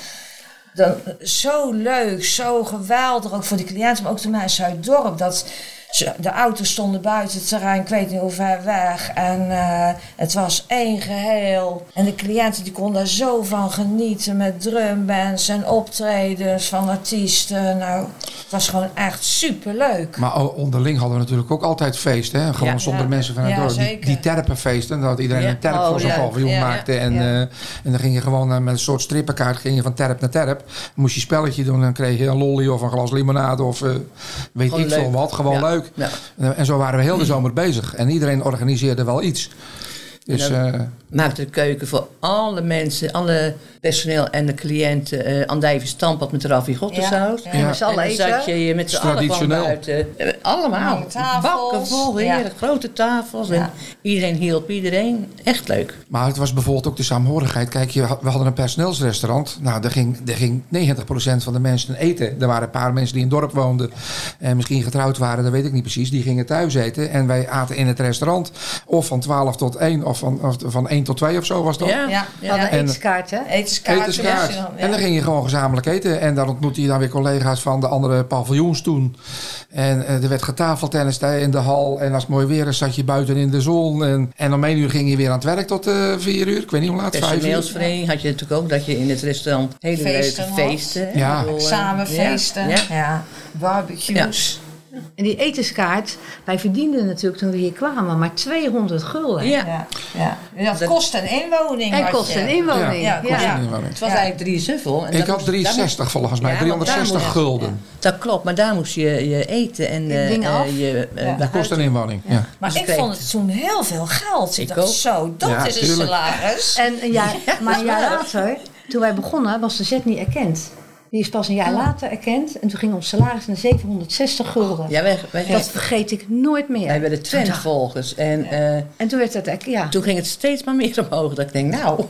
Speaker 1: dan, zo leuk, zo geweldig. Ook voor de cliënten, maar ook de mensen uit het dorp. Dat ze- de auto's stonden buiten het terrein, ik weet niet hoe ver weg. En eh, het was één geheel. En de cliënten die konden daar zo van genieten. Met drumbands en optredens van artiesten. Nou, het was gewoon echt superleuk.
Speaker 4: Maar o- onderling hadden we natuurlijk ook altijd feest. Hè? Gewoon
Speaker 6: Ja.
Speaker 4: zonder
Speaker 1: Ja.
Speaker 4: mensen vanuit
Speaker 1: Ja,
Speaker 4: het dorp. Die,
Speaker 1: zeker.
Speaker 4: die terpenfeesten. Dan had iedereen
Speaker 6: Ja.
Speaker 4: een terp
Speaker 6: Oh,
Speaker 4: voor zijn
Speaker 6: ja.
Speaker 4: paviljoen
Speaker 1: Ja.
Speaker 4: maakte. En,
Speaker 1: Ja.
Speaker 4: eh, en dan ging je gewoon eh, met een soort strippenkaart ging je van terp naar terp. Dan moest je spelletje doen. Dan kreeg je een lolly of een glas limonade of eh, weet
Speaker 6: Gewoon
Speaker 4: ik veel
Speaker 6: leuk.
Speaker 4: wat. Gewoon
Speaker 6: Ja.
Speaker 4: leuk.
Speaker 6: Ja.
Speaker 4: En, en zo waren we heel de zomer bezig. En iedereen organiseerde wel iets. Dus
Speaker 6: Ja.
Speaker 4: eh,
Speaker 6: maakte de keuken voor alle mensen, alle personeel en de cliënten eh andijvie stamppot met ravigottasaus.
Speaker 1: Ja,
Speaker 4: ja.
Speaker 5: Met z'n allen
Speaker 6: En dan zat
Speaker 5: eten.
Speaker 6: je met z'n allen gewoon
Speaker 4: Traditioneel.
Speaker 6: buiten. Eh, Allemaal.
Speaker 1: Lange tafels.
Speaker 6: Bakken vol, heerlijk.
Speaker 1: Ja.
Speaker 6: Grote tafels.
Speaker 1: Ja.
Speaker 6: En iedereen hielp iedereen. Echt leuk.
Speaker 4: Maar het was bijvoorbeeld ook de saamhorigheid. Kijk, je had- we hadden een personeelsrestaurant. Nou, daar ging, daar ging 90% van de mensen eten. Er waren een paar mensen die in het dorp woonden. En misschien getrouwd waren, dat weet ik niet precies. Die gingen thuis eten. En wij aten in het restaurant. Of van 12 tot 1. Of van, of van 1 tot 2 of zo was dat.
Speaker 6: Ja.
Speaker 1: Ja.
Speaker 5: We
Speaker 6: Ja.
Speaker 5: hadden
Speaker 4: En-
Speaker 5: etenskaart, hè?
Speaker 1: Etenskaarten.
Speaker 4: Etenskaart.
Speaker 1: ja.
Speaker 4: En dan ging je gewoon gezamenlijk eten. En daar ontmoette je dan weer collega's van de andere paviljoens toen. En eh, er werd getafeltennis daar in de hal. En als het mooi weer is, zat je buiten in de zon. En, en om 1 uur ging je weer aan het werk tot eh 4 uur. Ik weet niet hoe laat, 5 uur.
Speaker 6: Personeelsvereniging had je natuurlijk ook dat je in het restaurant hele
Speaker 1: Feesten
Speaker 6: leuke
Speaker 1: had.
Speaker 6: feesten. hè.
Speaker 4: Ja.
Speaker 6: Ik bedoel, eh,
Speaker 1: Samen
Speaker 6: ja,
Speaker 1: feesten.
Speaker 6: ja.
Speaker 1: ja. Barbecues.
Speaker 5: En die etenskaart, wij verdienden natuurlijk toen we hier kwamen maar 200 gulden.
Speaker 6: Ja.
Speaker 1: Ja, ja. En dat kost een inwoning.
Speaker 5: En
Speaker 1: had
Speaker 5: kost
Speaker 1: je.
Speaker 5: een inwoning.
Speaker 1: Ja,
Speaker 5: Ja,
Speaker 1: ja, kost
Speaker 4: een inwoning.
Speaker 6: Het was
Speaker 1: Ja.
Speaker 6: eigenlijk drie zuffel. En
Speaker 4: Ik
Speaker 6: dat
Speaker 4: had
Speaker 6: moest- daar
Speaker 4: 360 volgens mij,
Speaker 6: Ja, want daar
Speaker 4: 360
Speaker 6: moest-
Speaker 4: gulden.
Speaker 6: moest- Dat klopt, maar daar moest je, je eten en
Speaker 5: Die
Speaker 6: eh,
Speaker 5: dingen
Speaker 6: eh,
Speaker 5: af.
Speaker 6: je eh,
Speaker 1: Ja.
Speaker 4: Dat kost een inwoning. Ja.
Speaker 1: Maar
Speaker 6: Dus
Speaker 1: ik
Speaker 6: ik
Speaker 1: vond
Speaker 6: weet-
Speaker 1: het toen heel veel geld. Ik,
Speaker 6: Ik
Speaker 1: dacht
Speaker 6: ook.
Speaker 1: zo, dat
Speaker 4: Ja,
Speaker 1: is een
Speaker 4: tuurlijk.
Speaker 1: salaris.
Speaker 5: En een jaar, maar een jaar later, toen wij begonnen, was de zet niet erkend. Die is pas een jaar later erkend. En toen ging ons salaris naar 760 gulden.
Speaker 6: Ja, wij, wij,
Speaker 5: Dat vergeet ik nooit meer.
Speaker 6: wij werden trendvolgers. En eh,
Speaker 5: En toen werd het, echt- ja.
Speaker 6: toen ging het steeds maar meer omhoog. Dat ik denk, nou,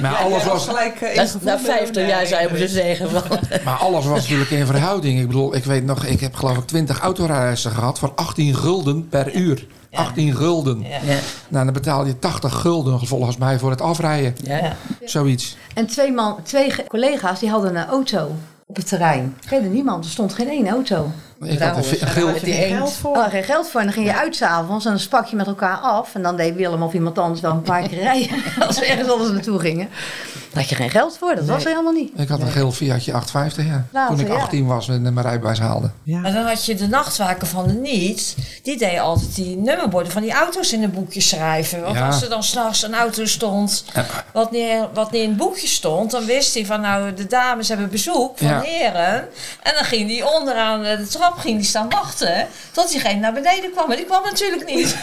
Speaker 4: Maar, alles was,
Speaker 2: gelijk eh, in
Speaker 6: dat,
Speaker 2: gevoel
Speaker 6: na 50
Speaker 2: bij-
Speaker 6: jaar dus zou je moeten zeggen van...
Speaker 4: maar alles was natuurlijk in verhouding. Ik bedoel, ik weet nog, ik heb geloof ik 20 autorijreizen gehad voor 18 gulden per uur. 18 gulden.
Speaker 1: Ja.
Speaker 6: Ja,
Speaker 4: Nou, dan betaal je 80 gulden volgens mij voor het afrijden.
Speaker 6: ja.
Speaker 4: Zoiets.
Speaker 5: En twee, man, twee ge- collega's die hadden een auto op het terrein. Verder niemand, er stond geen één auto.
Speaker 4: Ik had een,
Speaker 6: Trouwens,
Speaker 4: vi- een
Speaker 6: en
Speaker 4: geel,
Speaker 6: dan had je
Speaker 2: Geen
Speaker 6: eend.
Speaker 2: geld voor.
Speaker 5: We hadden geen geld voor en dan ging je uit s'avonds en dan sprak je met elkaar af. En dan deed Willem of iemand anders wel een paar keer rijden als we ergens anders naartoe gingen. Daar had je geen geld voor, dat was er helemaal niet.
Speaker 4: ik had een geel Fiatje 850, ja.
Speaker 5: Later,
Speaker 4: Toen ik
Speaker 5: ja.
Speaker 4: 18 was en mijn rijbewijs haalde.
Speaker 1: Maar
Speaker 2: Ja.
Speaker 1: dan had je de nachtwaker van de niet. Die deed altijd die nummerborden van die auto's in een boekje schrijven. Want
Speaker 4: Ja.
Speaker 1: als er dan s'nachts een auto stond wat niet, wat niet in het boekje stond... dan wist hij van nou, de dames hebben bezoek van
Speaker 4: Ja.
Speaker 1: heren. En dan ging die onderaan eh, de trap ging die staan wachten... tot diegene naar beneden kwam. Maar die kwam natuurlijk niet.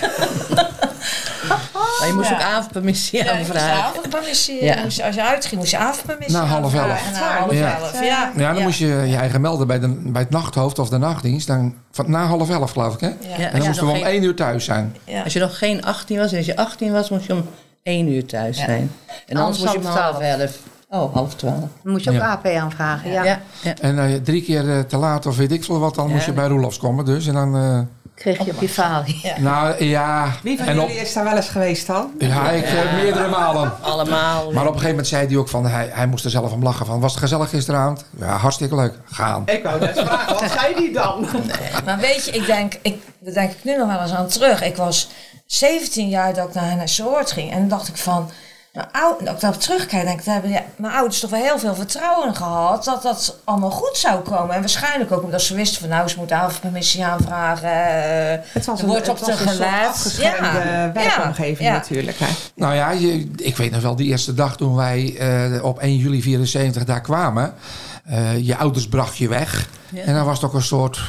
Speaker 6: Maar je moest
Speaker 1: Ja.
Speaker 6: ook avondpermissie
Speaker 1: Ja, je moest
Speaker 6: aanvragen.
Speaker 1: avondpermissie.
Speaker 6: Ja.
Speaker 1: moest je- als je uitging, moest je avondpermissie.
Speaker 4: Na half
Speaker 1: aanvragen.
Speaker 4: elf.
Speaker 1: Na half
Speaker 4: Ja.
Speaker 1: elf, ja.
Speaker 4: Ja, dan moest je je eigen melden bij, de, bij het nachthoofd of de nachtdienst. Dan, van, na half elf geloof ik, hè?
Speaker 1: Ja.
Speaker 6: Ja.
Speaker 4: En dan
Speaker 6: Als je
Speaker 4: moesten
Speaker 6: nog
Speaker 4: we om
Speaker 6: geen-
Speaker 4: 1 uur thuis zijn.
Speaker 1: Ja.
Speaker 6: Als je nog geen 18 was, en als je 18 was, moest je om 1 uur thuis
Speaker 1: Ja.
Speaker 6: zijn. En
Speaker 5: Anders
Speaker 6: anders moest je om
Speaker 5: half
Speaker 6: half 11. Oh, half 12.
Speaker 5: Dan moet je ook
Speaker 4: Ja.
Speaker 5: AP aanvragen. Ja.
Speaker 6: Ja, ja.
Speaker 4: En eh, drie keer eh, te laat of weet ik veel wat, dan
Speaker 6: Ja.
Speaker 4: moest je bij Roelofs komen. Dus. En dan, eh,
Speaker 5: Kreeg je op je falie.
Speaker 4: nou ja,
Speaker 2: Wie van
Speaker 4: en op,
Speaker 2: jullie is daar wel eens geweest dan?
Speaker 4: ja, ik eh, meerdere malen.
Speaker 6: Allemaal.
Speaker 4: Maar op een gegeven moment zei hij ook van, hij, hij moest er zelf om lachen van, was het gezellig gisteravond? Ja, hartstikke leuk. Gaan.
Speaker 2: Ik wou net vragen, wat zei die dan?
Speaker 1: Maar weet je, ik denk, ik, daar denk ik nu nog wel eens aan terug. Ik was 17 jaar dat ik naar een soort ging. En dan dacht ik van, nou, ou- dat ik daarop terugkijk, denk ik, daar hebben ja, mijn ouders toch wel heel veel vertrouwen in gehad dat dat allemaal goed zou komen. En waarschijnlijk ook omdat ze wisten van, nou, ze moeten avondpermissie aanvragen. eh,
Speaker 2: Het was
Speaker 1: er
Speaker 2: een,
Speaker 1: wordt
Speaker 2: het
Speaker 1: op
Speaker 2: was
Speaker 1: de
Speaker 2: een soort
Speaker 1: gelet.
Speaker 2: afgeschermde
Speaker 1: Ja,
Speaker 2: werkomgeving
Speaker 1: ja, ja.
Speaker 2: natuurlijk. Hè.
Speaker 4: Nou ja, je, ik weet nog wel, die eerste dag toen wij eh, op 1 juli 74 daar kwamen. eh, je ouders bracht je weg. En dan was het ook een soort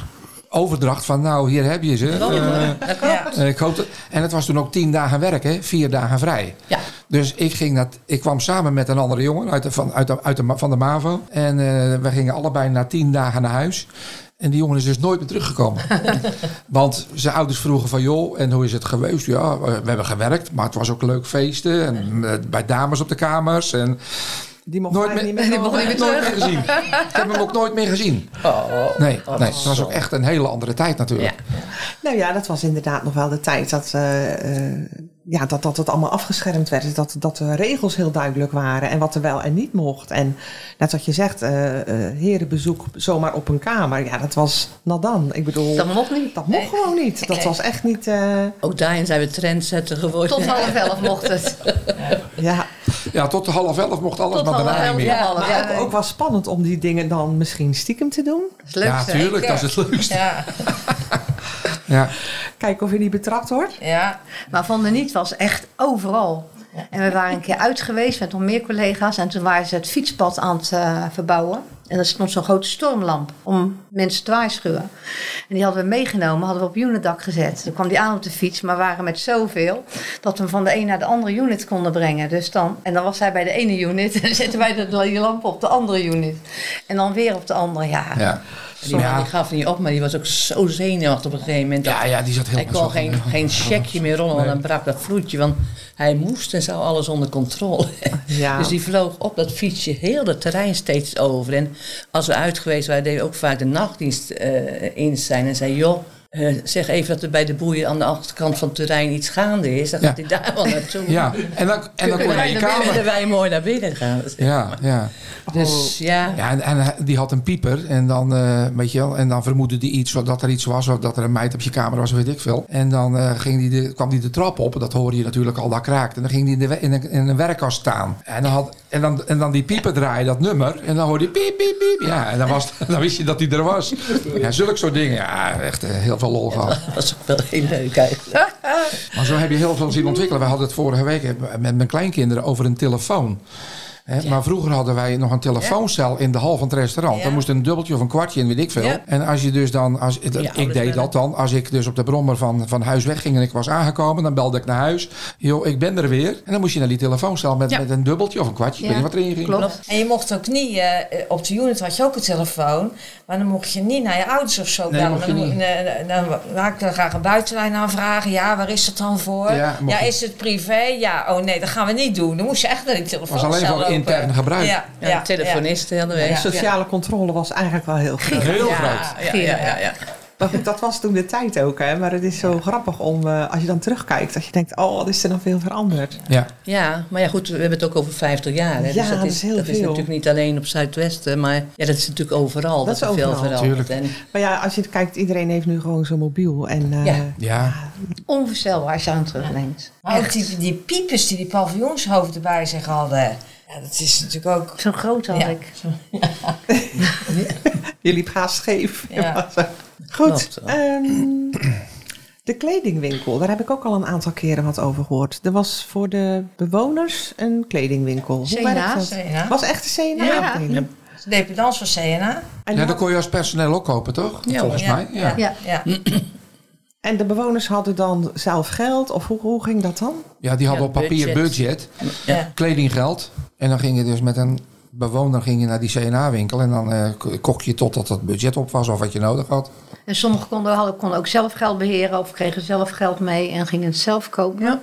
Speaker 4: overdracht van, nou, hier heb je ze. Eh,
Speaker 6: Dat klopt.
Speaker 1: Ja.
Speaker 4: Eh, ik hoop dat- en het was toen ook tien dagen werken, vier dagen vrij.
Speaker 6: Ja.
Speaker 4: Dus ik, ging dat, ik kwam samen met een andere jongen uit de, van, uit de, uit de, van de MAVO. En eh we gingen allebei na tien dagen naar huis. En En die jongen is dus nooit meer teruggekomen. Want zijn ouders vroegen van, joh, en hoe is het geweest? Ja, we hebben gewerkt, maar het was ook leuk feesten. En eh, bij dames op de kamers. En
Speaker 2: Die mocht
Speaker 4: Nooit
Speaker 2: nooit niet
Speaker 4: meer-
Speaker 2: meer. komen.
Speaker 4: ik heb hem nooit meer gezien. Ik heb hem ook nooit meer gezien.
Speaker 6: Oh.
Speaker 4: Nee,
Speaker 5: Oh,
Speaker 4: nee, het was ook echt een hele andere tijd natuurlijk.
Speaker 2: Nou ja, dat was inderdaad nog wel de tijd dat, eh, eh, ja, dat, dat het allemaal afgeschermd werd. Dat, dat de regels heel duidelijk waren en wat er wel en niet mocht. En net wat je zegt, eh, eh, herenbezoek zomaar op een kamer. Ja, dat was nadan. Ik bedoel,
Speaker 6: Dat
Speaker 2: dat,
Speaker 6: mocht niet.
Speaker 2: mocht gewoon niet. Dat
Speaker 5: Nee.
Speaker 2: was echt niet... eh,
Speaker 6: Ook daarin zijn we trendsetter geworden.
Speaker 5: Tot half elf mocht het.
Speaker 2: ja,
Speaker 4: Ja, tot half elf mocht alles,
Speaker 5: Tot
Speaker 4: maar
Speaker 5: half
Speaker 4: daarna
Speaker 5: elf.
Speaker 4: niet meer.
Speaker 5: Ja, half
Speaker 2: maar ook,
Speaker 5: elf.
Speaker 2: ook wel spannend om die dingen dan misschien stiekem te doen.
Speaker 5: Dat is leuk.
Speaker 4: Ja,
Speaker 5: zeg.
Speaker 4: tuurlijk, dat is het leukste.
Speaker 1: Ja,
Speaker 4: Ja.
Speaker 2: Kijken of je niet betrapt wordt.
Speaker 1: ja.
Speaker 5: Maar Van der Niet was echt overal. En we waren een keer uit geweest met nog meer collega's. En toen waren ze het fietspad aan het eh, verbouwen. En er stond zo'n grote stormlamp om mensen te waarschuwen. En die hadden we meegenomen, hadden we op unitdak gezet. Toen kwam die aan op de fiets, maar waren met zoveel... dat we hem van de een naar de andere unit konden brengen. Dus dan, en dan was hij bij de ene unit en zetten wij de, die lamp op de andere unit. En dan weer op de andere, ja.
Speaker 4: Ja.
Speaker 6: Die, man, die
Speaker 4: Ja.
Speaker 6: gaf niet op, maar die was ook zo zenuwachtig op een gegeven moment. dat-
Speaker 4: Ja, ja, die zat heel
Speaker 6: hij kon
Speaker 4: bezorgd.
Speaker 6: geen, geen checkje meer rollen, want dan brak dat vloedje. Want hij moest en zou alles onder controle hebben.
Speaker 2: Ja.
Speaker 6: Dus die vloog op dat fietsje heel dat terrein steeds over. En als we uit geweest waren, deden we ook vaak de nachtdienst eh, in zijn. En zei, joh, eh, zeg even dat er bij de boeien aan de achterkant van het terrein iets gaande is. Dan
Speaker 4: Ja.
Speaker 6: gaat hij daar wel naartoe.
Speaker 4: Ja, en dan, en dan kon je naar
Speaker 6: kunnen wij,
Speaker 4: je
Speaker 6: naar binnen,
Speaker 4: kamer.
Speaker 6: kunnen wij mooi naar binnen gaan.
Speaker 4: Ja, ja.
Speaker 6: Dus ja.
Speaker 4: ja en, en hij- die had een pieper en dan, eh, weet je wel, en dan vermoedde die iets, dat er iets was, of dat er een meid op je kamer was, weet ik veel. En dan eh, ging die de, kwam die de trap op, dat hoorde je natuurlijk al, dat kraakt. En dan ging die in, de, we- in, een, in een werkkast staan. En dan, had, en, dan, en dan die pieper draaide dat nummer, en dan hoorde je piep, piep, piep. Ja, en dan, was, dan wist je dat hij er was. Ja, zulke soort dingen. Ja, echt eh, heel veel lol gehad.
Speaker 6: Dat was ook wel heel leuk eigenlijk.
Speaker 4: Maar zo heb je heel veel zien ontwikkelen. We hadden het vorige week eh, met mijn kleinkinderen over een telefoon. Hè, Maar vroeger hadden wij nog een telefooncel in de hal van het restaurant. Daar moest een dubbeltje of een kwartje in, weet ik veel.
Speaker 6: Ja.
Speaker 4: En als je dus dan, als, het-
Speaker 6: ouders
Speaker 4: ik deed
Speaker 6: bellen.
Speaker 4: dat dan. Als ik dus op de brommer van, van huis wegging en ik was aangekomen, dan belde ik naar huis. Joh, ik ben er weer. En dan moest je naar die telefooncel met,
Speaker 6: Ja.
Speaker 4: met een dubbeltje of een kwartje. Ik
Speaker 5: Ja,
Speaker 4: weet niet wat erin ging.
Speaker 5: Klopt.
Speaker 1: En je mocht ook niet, eh, eh, op de unit had je ook een telefoon, maar dan mocht je niet naar je ouders of zo
Speaker 4: Nee,
Speaker 1: bellen.
Speaker 4: mocht je
Speaker 1: dan, mo-
Speaker 4: niet.
Speaker 1: eh, dan, wou ik dan graag een buitenlijn aanvragen. Ja, waar is het dan voor?
Speaker 4: Ja, mocht je-
Speaker 1: is het privé? Ja, oh nee, dat gaan we niet doen. Dan moest je echt naar die telefoon.
Speaker 4: was alleen
Speaker 1: zelf
Speaker 4: voor
Speaker 1: lopen.
Speaker 4: intern gebruik.
Speaker 1: Ja,
Speaker 6: Ja,
Speaker 1: ja,
Speaker 6: de telefonisten hadden we.
Speaker 2: En
Speaker 6: Ja.
Speaker 2: sociale controle was eigenlijk wel heel groot.
Speaker 4: Heel
Speaker 6: Ja,
Speaker 4: groot.
Speaker 6: ja, ja, ja, ja.
Speaker 2: Maar goed, dat was toen de tijd ook, hè. Maar het is zo grappig om, eh, als je dan terugkijkt, dat je denkt, oh, wat is er dan veel veranderd.
Speaker 4: Ja.
Speaker 6: Ja, maar ja, goed, we hebben het ook over 50 jaar. Hè,
Speaker 2: Ja,
Speaker 6: dus dat,
Speaker 2: dat
Speaker 6: is,
Speaker 2: is heel
Speaker 6: dat is
Speaker 2: veel.
Speaker 6: natuurlijk niet alleen op Zuidwesten, maar ja, dat is natuurlijk overal.
Speaker 2: Dat
Speaker 6: Dat,
Speaker 2: is
Speaker 6: er veel
Speaker 2: overal.
Speaker 6: veranderd.
Speaker 4: Tuurlijk.
Speaker 6: En,
Speaker 2: Maar ja, als je het kijkt, iedereen heeft nu gewoon zo'n mobiel. En eh,
Speaker 6: Ja.
Speaker 4: Ja.
Speaker 5: Onvoorstelbaar als je aan het terugdenkt.
Speaker 1: Maar ook die, die piepers die die paviljoenshoofden bij zich hadden. Ja, dat is natuurlijk ook...
Speaker 5: Zo groot had
Speaker 1: Ja.
Speaker 5: ik.
Speaker 2: je liep haast scheef.
Speaker 1: Ja.
Speaker 2: Goed.
Speaker 6: Klopt, ja.
Speaker 2: ehm, de kledingwinkel, daar heb ik ook al een aantal keren wat over gehoord. Er was voor de bewoners een kledingwinkel. Hoe
Speaker 5: C&A?
Speaker 2: werkt dat?
Speaker 1: C&A.
Speaker 2: Was echt de
Speaker 5: Ja.
Speaker 2: CNA-afdeling.
Speaker 1: De dependance van CNA.
Speaker 2: En,
Speaker 4: ja,
Speaker 2: die
Speaker 4: dat
Speaker 2: had-
Speaker 4: kon je als personeel ook kopen, toch?
Speaker 6: Ja,
Speaker 4: Volgens
Speaker 1: ja.
Speaker 4: mij. Ja.
Speaker 5: Ja.
Speaker 1: Ja.
Speaker 6: Mm.
Speaker 2: en de bewoners hadden dan zelf geld? Of hoe, hoe ging dat dan?
Speaker 4: Ja, die hadden
Speaker 6: Ja,
Speaker 4: op papier
Speaker 6: budget.
Speaker 4: budget.
Speaker 1: Ja.
Speaker 4: kledinggeld. En dan ging je dus met een bewoner ging je naar die CNA-winkel. En dan eh, k- kocht je totdat het budget op was of wat je nodig had.
Speaker 5: En sommigen konden, hadden, konden ook zelf geld beheren of kregen zelf geld mee en gingen het zelf kopen.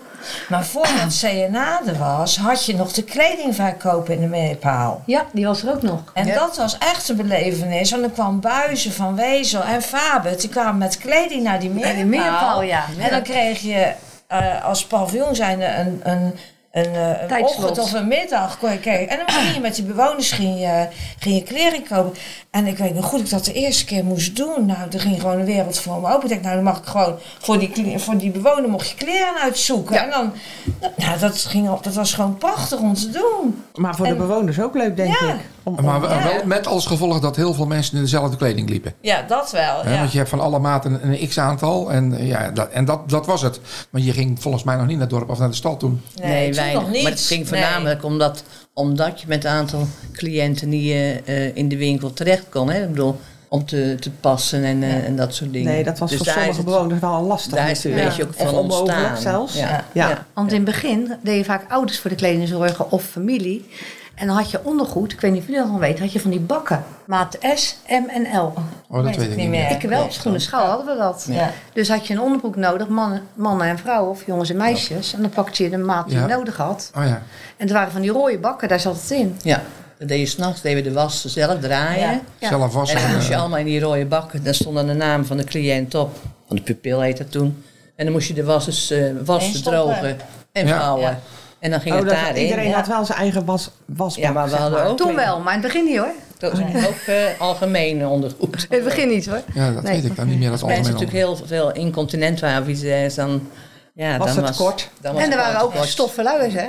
Speaker 1: Maar voordat CNA er was, had je nog de kledingverkoop in de meepaal.
Speaker 5: Ja, die was er ook nog.
Speaker 1: En dat was echt een belevenis. Want dan kwam Buizen van Wezel en Faber. Die kwamen met kleding naar die meerpaal.
Speaker 5: En die meerpaal, ja.
Speaker 1: En dan kreeg je eh, als paviljoen zijnde een, een, een, eh, een
Speaker 5: Tijdslot.
Speaker 1: ochtend of een middag. kon je kijken. En dan ging je met die bewoners ging je, ging je kleren kopen. En ik weet nog goed dat ik dat de eerste keer moest doen. Nou, er ging gewoon een wereld voor me open. Ik dacht, nou dan mag ik gewoon voor die, kle- voor die bewoner mocht je kleren uitzoeken. En dan, nou, dat, ging op, dat was gewoon prachtig om te doen.
Speaker 2: Maar voor de
Speaker 1: En-
Speaker 2: bewoners ook leuk, denk
Speaker 1: Ja.
Speaker 2: ik. Om- om-
Speaker 4: Maar we-
Speaker 1: Ja.
Speaker 4: wel met als gevolg dat heel veel mensen in dezelfde kleding liepen.
Speaker 1: Ja, dat wel.
Speaker 4: Hè,
Speaker 1: ja.
Speaker 4: Want je hebt van alle maten een, een x-aantal. En, eh, ja, dat, en dat, dat was het. Maar je ging volgens mij nog niet naar het dorp of naar de stad toen.
Speaker 1: Nee, toen
Speaker 6: weinig.
Speaker 1: nog niet.
Speaker 6: Maar het
Speaker 1: Nee.
Speaker 6: ging voornamelijk omdat, omdat je met een aantal cliënten die eh, eh, in de winkel terecht kon. Hè, ik bedoel, om te, te passen en, eh, en dat soort dingen.
Speaker 2: Nee, dat was
Speaker 6: Dus
Speaker 2: voor
Speaker 6: daar
Speaker 2: sommige
Speaker 6: is het-
Speaker 2: bewoners wel lastig.
Speaker 6: Daar is een
Speaker 2: natuurlijk.
Speaker 6: beetje ook
Speaker 2: Of
Speaker 6: van
Speaker 2: onmogelijk
Speaker 6: ontstaan.
Speaker 2: zelfs.
Speaker 6: Ja.
Speaker 2: Ja.
Speaker 6: Ja.
Speaker 5: Want in het begin deden vaak ouders voor de kleding zorgen of familie. En dan had je ondergoed, ik weet niet of jullie dat nog weten, had je van die bakken. Maat S, M en L.
Speaker 4: Oh, dat
Speaker 1: Weet
Speaker 4: weet
Speaker 1: ik
Speaker 4: ik
Speaker 1: niet
Speaker 4: niet
Speaker 1: meer.
Speaker 4: meer.
Speaker 5: Ik wel,
Speaker 1: nee,
Speaker 5: op Schoenen Schouw hadden we dat.
Speaker 1: Ja.
Speaker 5: Dus had je een onderbroek nodig, mannen, mannen en vrouwen of jongens en meisjes. En dan pakte je de maat die
Speaker 4: Ja.
Speaker 5: je nodig had.
Speaker 4: Oh ja.
Speaker 5: En het waren van die rode bakken, daar zat het in.
Speaker 6: Ja, dat deed je s'nachts, deden we de was zelf draaien.
Speaker 1: Ja.
Speaker 5: Ja.
Speaker 4: Zelf was eh,
Speaker 6: En dan moest je
Speaker 4: het.
Speaker 6: allemaal in die rode bakken. Daar stond dan de naam van de cliënt op. Van de pupil heet dat toen. En dan moest je de was dus eh, wassen,
Speaker 1: Instoppen.
Speaker 6: drogen en
Speaker 4: Ja.
Speaker 6: vouwen.
Speaker 1: Ja.
Speaker 6: En dan ging
Speaker 2: Oh,
Speaker 6: het
Speaker 2: dat-
Speaker 6: daarin.
Speaker 2: iedereen
Speaker 1: ja.
Speaker 2: had wel zijn eigen was, wasbak.
Speaker 6: Ja, maar we
Speaker 2: zeg
Speaker 6: hadden ook...
Speaker 5: Toen wel, maar in het begin niet hoor.
Speaker 6: Dat was ook eh, algemeen ondergoed.
Speaker 5: In het begin niet hoor.
Speaker 4: Ja, dat
Speaker 5: Nee.
Speaker 4: weet ik dan niet meer. Dat
Speaker 6: Als mensen
Speaker 4: algemeen
Speaker 6: natuurlijk heel veel incontinent waren, wie ze is, dan... Ja,
Speaker 2: Was
Speaker 6: dan
Speaker 2: het
Speaker 6: was,
Speaker 2: kort?
Speaker 6: Dan was
Speaker 5: En er
Speaker 6: het
Speaker 5: waren
Speaker 6: wel
Speaker 5: ook
Speaker 6: tekort.
Speaker 5: stoffeluiers hè.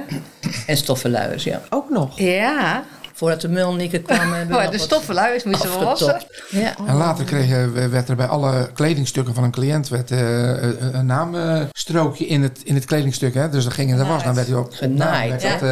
Speaker 6: En stoffenluiers, ja.
Speaker 2: Ook nog.
Speaker 5: Ja,
Speaker 6: Voordat de mulniken kwamen hebben we
Speaker 5: maar
Speaker 6: nog
Speaker 5: Oh, de
Speaker 6: wat
Speaker 5: stoffeluiers moesten we wassen.
Speaker 6: afgetopt. Ja.
Speaker 4: En later kreeg, je- werd er bij alle kledingstukken van een cliënt werd, eh, eh, een naamstrookje in het, in het kledingstuk. Hè? Dus dan ging in de was, dan werd hij op
Speaker 6: Genaaid,
Speaker 4: werd
Speaker 6: ja.
Speaker 4: dat,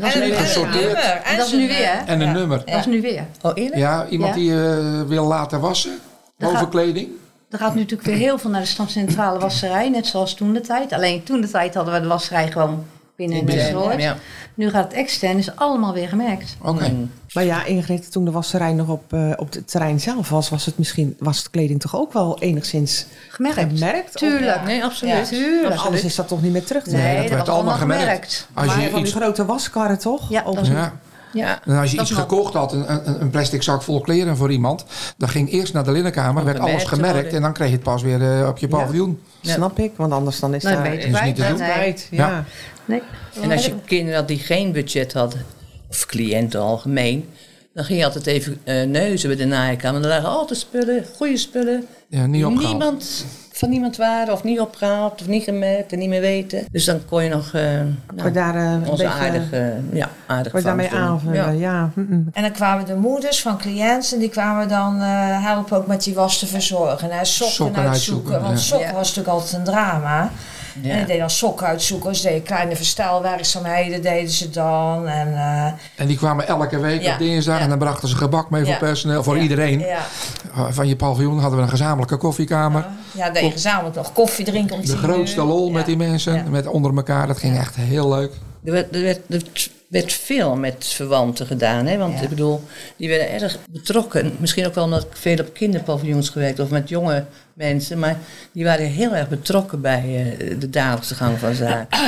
Speaker 4: eh,
Speaker 5: is
Speaker 1: en,
Speaker 5: nu
Speaker 1: een- en een
Speaker 4: gesorteerd.
Speaker 1: nummer. En
Speaker 5: Dat is
Speaker 1: zijn
Speaker 5: nu weer hè.
Speaker 4: En een
Speaker 1: Ja.
Speaker 4: nummer.
Speaker 5: Dat is nu weer.
Speaker 6: Oh, eerlijk?
Speaker 4: Ja, iemand
Speaker 5: Ja.
Speaker 4: die eh, wil laten wassen.
Speaker 5: Dan ga-
Speaker 4: Overkleding.
Speaker 5: Er gaat nu natuurlijk weer heel veel naar de stadscentrale wasserij, net zoals toen de tijd. Alleen toen de tijd hadden we de wasserij gewoon binnen in
Speaker 6: Binnen,
Speaker 5: Westerhoort.
Speaker 6: ja.
Speaker 5: Nu gaat het extern, is allemaal weer gemerkt.
Speaker 4: Oké.
Speaker 6: Mm.
Speaker 2: Maar ja, Ingrid, toen de wasserij nog op, eh, op het terrein zelf was, was het misschien was het kleding toch ook wel enigszins
Speaker 5: Gemerkt.
Speaker 2: gemerkt?
Speaker 5: Tuurlijk.
Speaker 6: Nee, absoluut.
Speaker 5: Ja, tuurlijk.
Speaker 2: Of, anders is dat toch niet meer terug te
Speaker 5: Nee,
Speaker 2: brengen?
Speaker 5: dat
Speaker 4: werd
Speaker 5: was
Speaker 4: allemaal
Speaker 5: allemaal
Speaker 4: gemerkt.
Speaker 5: gemerkt.
Speaker 4: Als
Speaker 2: Maar
Speaker 4: je
Speaker 2: van die
Speaker 4: iets,
Speaker 2: grote waskarren toch?
Speaker 5: Ja,
Speaker 2: Ook-
Speaker 5: dat is
Speaker 4: ja,
Speaker 6: Ja.
Speaker 4: en als je
Speaker 5: Dat
Speaker 4: iets
Speaker 5: is wel-
Speaker 4: gekocht had, een, een- een plastic zak vol kleren voor iemand, dan ging eerst naar de linnenkamer, werd alles
Speaker 6: gemerkt te
Speaker 4: gemerkt
Speaker 6: worden.
Speaker 4: en dan kreeg je het pas weer eh, op je paviljoen.
Speaker 6: Ja.
Speaker 2: Snap ik, want anders dan is
Speaker 5: Nee,
Speaker 2: daar
Speaker 5: ben je
Speaker 4: is niet te
Speaker 5: kwijt.
Speaker 4: doen.
Speaker 5: Nee.
Speaker 2: Right, ja.
Speaker 4: Ja.
Speaker 5: Nee.
Speaker 6: En
Speaker 2: Oh.
Speaker 6: als je kinderen had die geen budget hadden, of cliënten algemeen, dan ging je altijd even eh, neuzen bij de naaikamer. Dan lagen altijd spullen, goede spullen.
Speaker 4: Ja, niet opgehaald.
Speaker 6: Niemand van niemand waren, of niet opgehaald, of niet gemerkt en niet meer weten. Dus dan kon je nog eh, nou,
Speaker 2: Maar daar eh, een
Speaker 6: onze
Speaker 2: beetje,
Speaker 6: aardige, ja, aardig
Speaker 2: Wordt daarmee
Speaker 6: vangen.
Speaker 2: aanvullen, ja. hm,
Speaker 6: Ja.
Speaker 2: mm-mm.
Speaker 1: En dan kwamen de moeders van cliënten, die kwamen dan eh, helpen ook met die was te verzorgen. En sokken,
Speaker 4: Sokken
Speaker 1: uitzoeken,
Speaker 4: uitzoeken,
Speaker 1: want
Speaker 4: ja.
Speaker 1: sokken
Speaker 6: Ja.
Speaker 1: was natuurlijk altijd een drama. En die
Speaker 6: Ja.
Speaker 1: deden dan sokken uitzoeken, ze deden kleine verstelwerkzaamheden, deden ze dan. En, eh,
Speaker 4: En die kwamen elke week
Speaker 1: Ja.
Speaker 4: op dinsdag
Speaker 1: Ja.
Speaker 4: en dan brachten ze gebak mee voor
Speaker 1: Ja.
Speaker 4: personeel, voor
Speaker 1: ja,
Speaker 4: iedereen.
Speaker 1: Ja,
Speaker 4: Van je paviljoen hadden we een gezamenlijke koffiekamer.
Speaker 1: ja deden gezamenlijk nog koffie drinken. om
Speaker 4: De
Speaker 1: tien
Speaker 4: grootste
Speaker 1: uur.
Speaker 4: lol
Speaker 1: Ja.
Speaker 4: met die mensen,
Speaker 1: Ja.
Speaker 4: met onder elkaar. Dat ging echt heel leuk.
Speaker 6: Er werd, er, werd, er werd veel met verwanten gedaan. Hè? Want
Speaker 1: Ja.
Speaker 6: ik bedoel, die werden erg betrokken. Misschien ook wel omdat ik veel op kinderpaviljoens gewerkt of met jonge mensen. Maar die waren heel erg betrokken bij eh, de dagelijkse gang van zaken.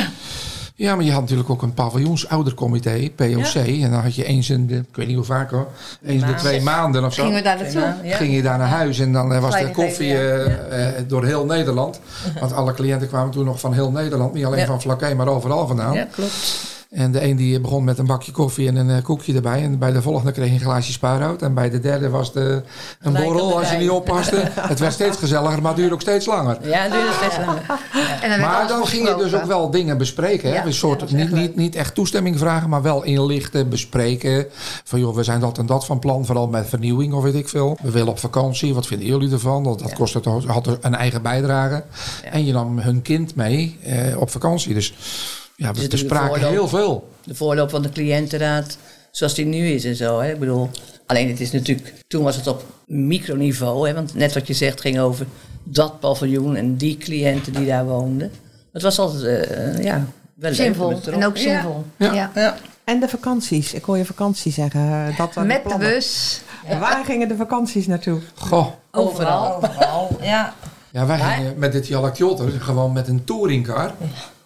Speaker 4: Ja, maar je had natuurlijk ook een paviljoensoudercomité, POC. En dan had je eens in de, ik weet niet hoe vaak hoor, eens in de
Speaker 6: maanden.
Speaker 4: twee maanden of zo.
Speaker 5: Gingen we daar naartoe?
Speaker 6: Ja.
Speaker 4: Ging je daar naar huis en dan eh, was de
Speaker 5: Kleine
Speaker 4: koffie
Speaker 5: geven,
Speaker 4: eh, eh, door heel Nederland. Want alle cliënten kwamen toen nog van heel Nederland. Niet alleen
Speaker 6: Ja.
Speaker 4: van Vlakke, maar overal vandaan.
Speaker 6: Ja, klopt.
Speaker 4: En de een die begon met een bakje koffie en een eh, koekje erbij. En bij de volgende kreeg je een glaasje spaarhout. En bij de derde was de, een
Speaker 6: Gelijk
Speaker 4: borrel als je
Speaker 6: erbij.
Speaker 4: niet oppaste. het werd steeds gezelliger, maar het duurde ook steeds langer.
Speaker 6: Ja, het duurde steeds langer.
Speaker 5: En dan werd
Speaker 4: Maar
Speaker 5: alles
Speaker 4: dan ging je dus
Speaker 5: besproken.
Speaker 4: ook wel dingen bespreken. Hè?
Speaker 5: Ja,
Speaker 4: een soort,
Speaker 5: dat was echt
Speaker 4: niet, niet, niet echt toestemming vragen, maar wel inlichten, bespreken. Van joh, we zijn dat en dat van plan, vooral met vernieuwing of weet ik veel. We willen op vakantie, wat vinden jullie ervan? Want dat
Speaker 6: Ja.
Speaker 4: kostte toch- had een eigen bijdrage.
Speaker 6: Ja.
Speaker 4: En je nam hun kind mee eh, op vakantie. Dus ja, we
Speaker 6: natuurlijk
Speaker 4: bespraken
Speaker 6: voorloop.
Speaker 4: heel veel.
Speaker 6: De voorloop van de cliëntenraad, zoals die nu is en zo. Hè? Ik bedoel, alleen het is natuurlijk, toen was het op microniveau. Hè? Want net wat je zegt ging over dat paviljoen en die cliënten die daar woonden. Het was altijd, eh, ja, wel leuk en
Speaker 5: Zinvol.
Speaker 6: betrokken.
Speaker 5: En ook
Speaker 6: Ja.
Speaker 5: zinvol.
Speaker 4: Ja.
Speaker 5: Ja.
Speaker 6: Ja.
Speaker 2: En de vakanties, ik hoor je vakantie zeggen. eh, Dat waren
Speaker 5: Met de
Speaker 2: plannen.
Speaker 5: bus.
Speaker 2: Waar gingen de vakanties naartoe?
Speaker 4: Goh.
Speaker 6: Overal.
Speaker 1: Overal, ja.
Speaker 4: Ja, wij
Speaker 6: Maar-
Speaker 4: gingen met dit Jalakjotter gewoon met een touringcar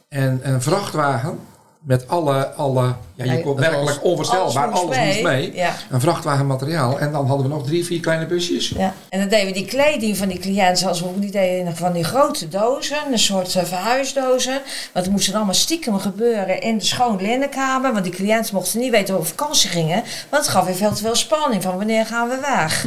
Speaker 4: en een vrachtwagen met alle, alle ja, je
Speaker 6: Ja,
Speaker 4: kon
Speaker 6: dat
Speaker 4: werkelijk onvoorstelbaar,
Speaker 1: alles
Speaker 4: alles
Speaker 1: moest
Speaker 4: moest mee.
Speaker 1: mee. Ja.
Speaker 4: Een vrachtwagen materiaal en dan hadden we nog drie, vier kleine busjes.
Speaker 1: Ja. En dan deden we die kleding van die cliënten, zoals we ook die deden, in van die grote dozen, een soort eh, verhuisdozen. Want het moest dan allemaal stiekem gebeuren in de schoon linnenkamer, want die cliënten mochten niet weten hoe we op vakantie gingen. Want het gaf weer veel te veel spanning van wanneer gaan we weg.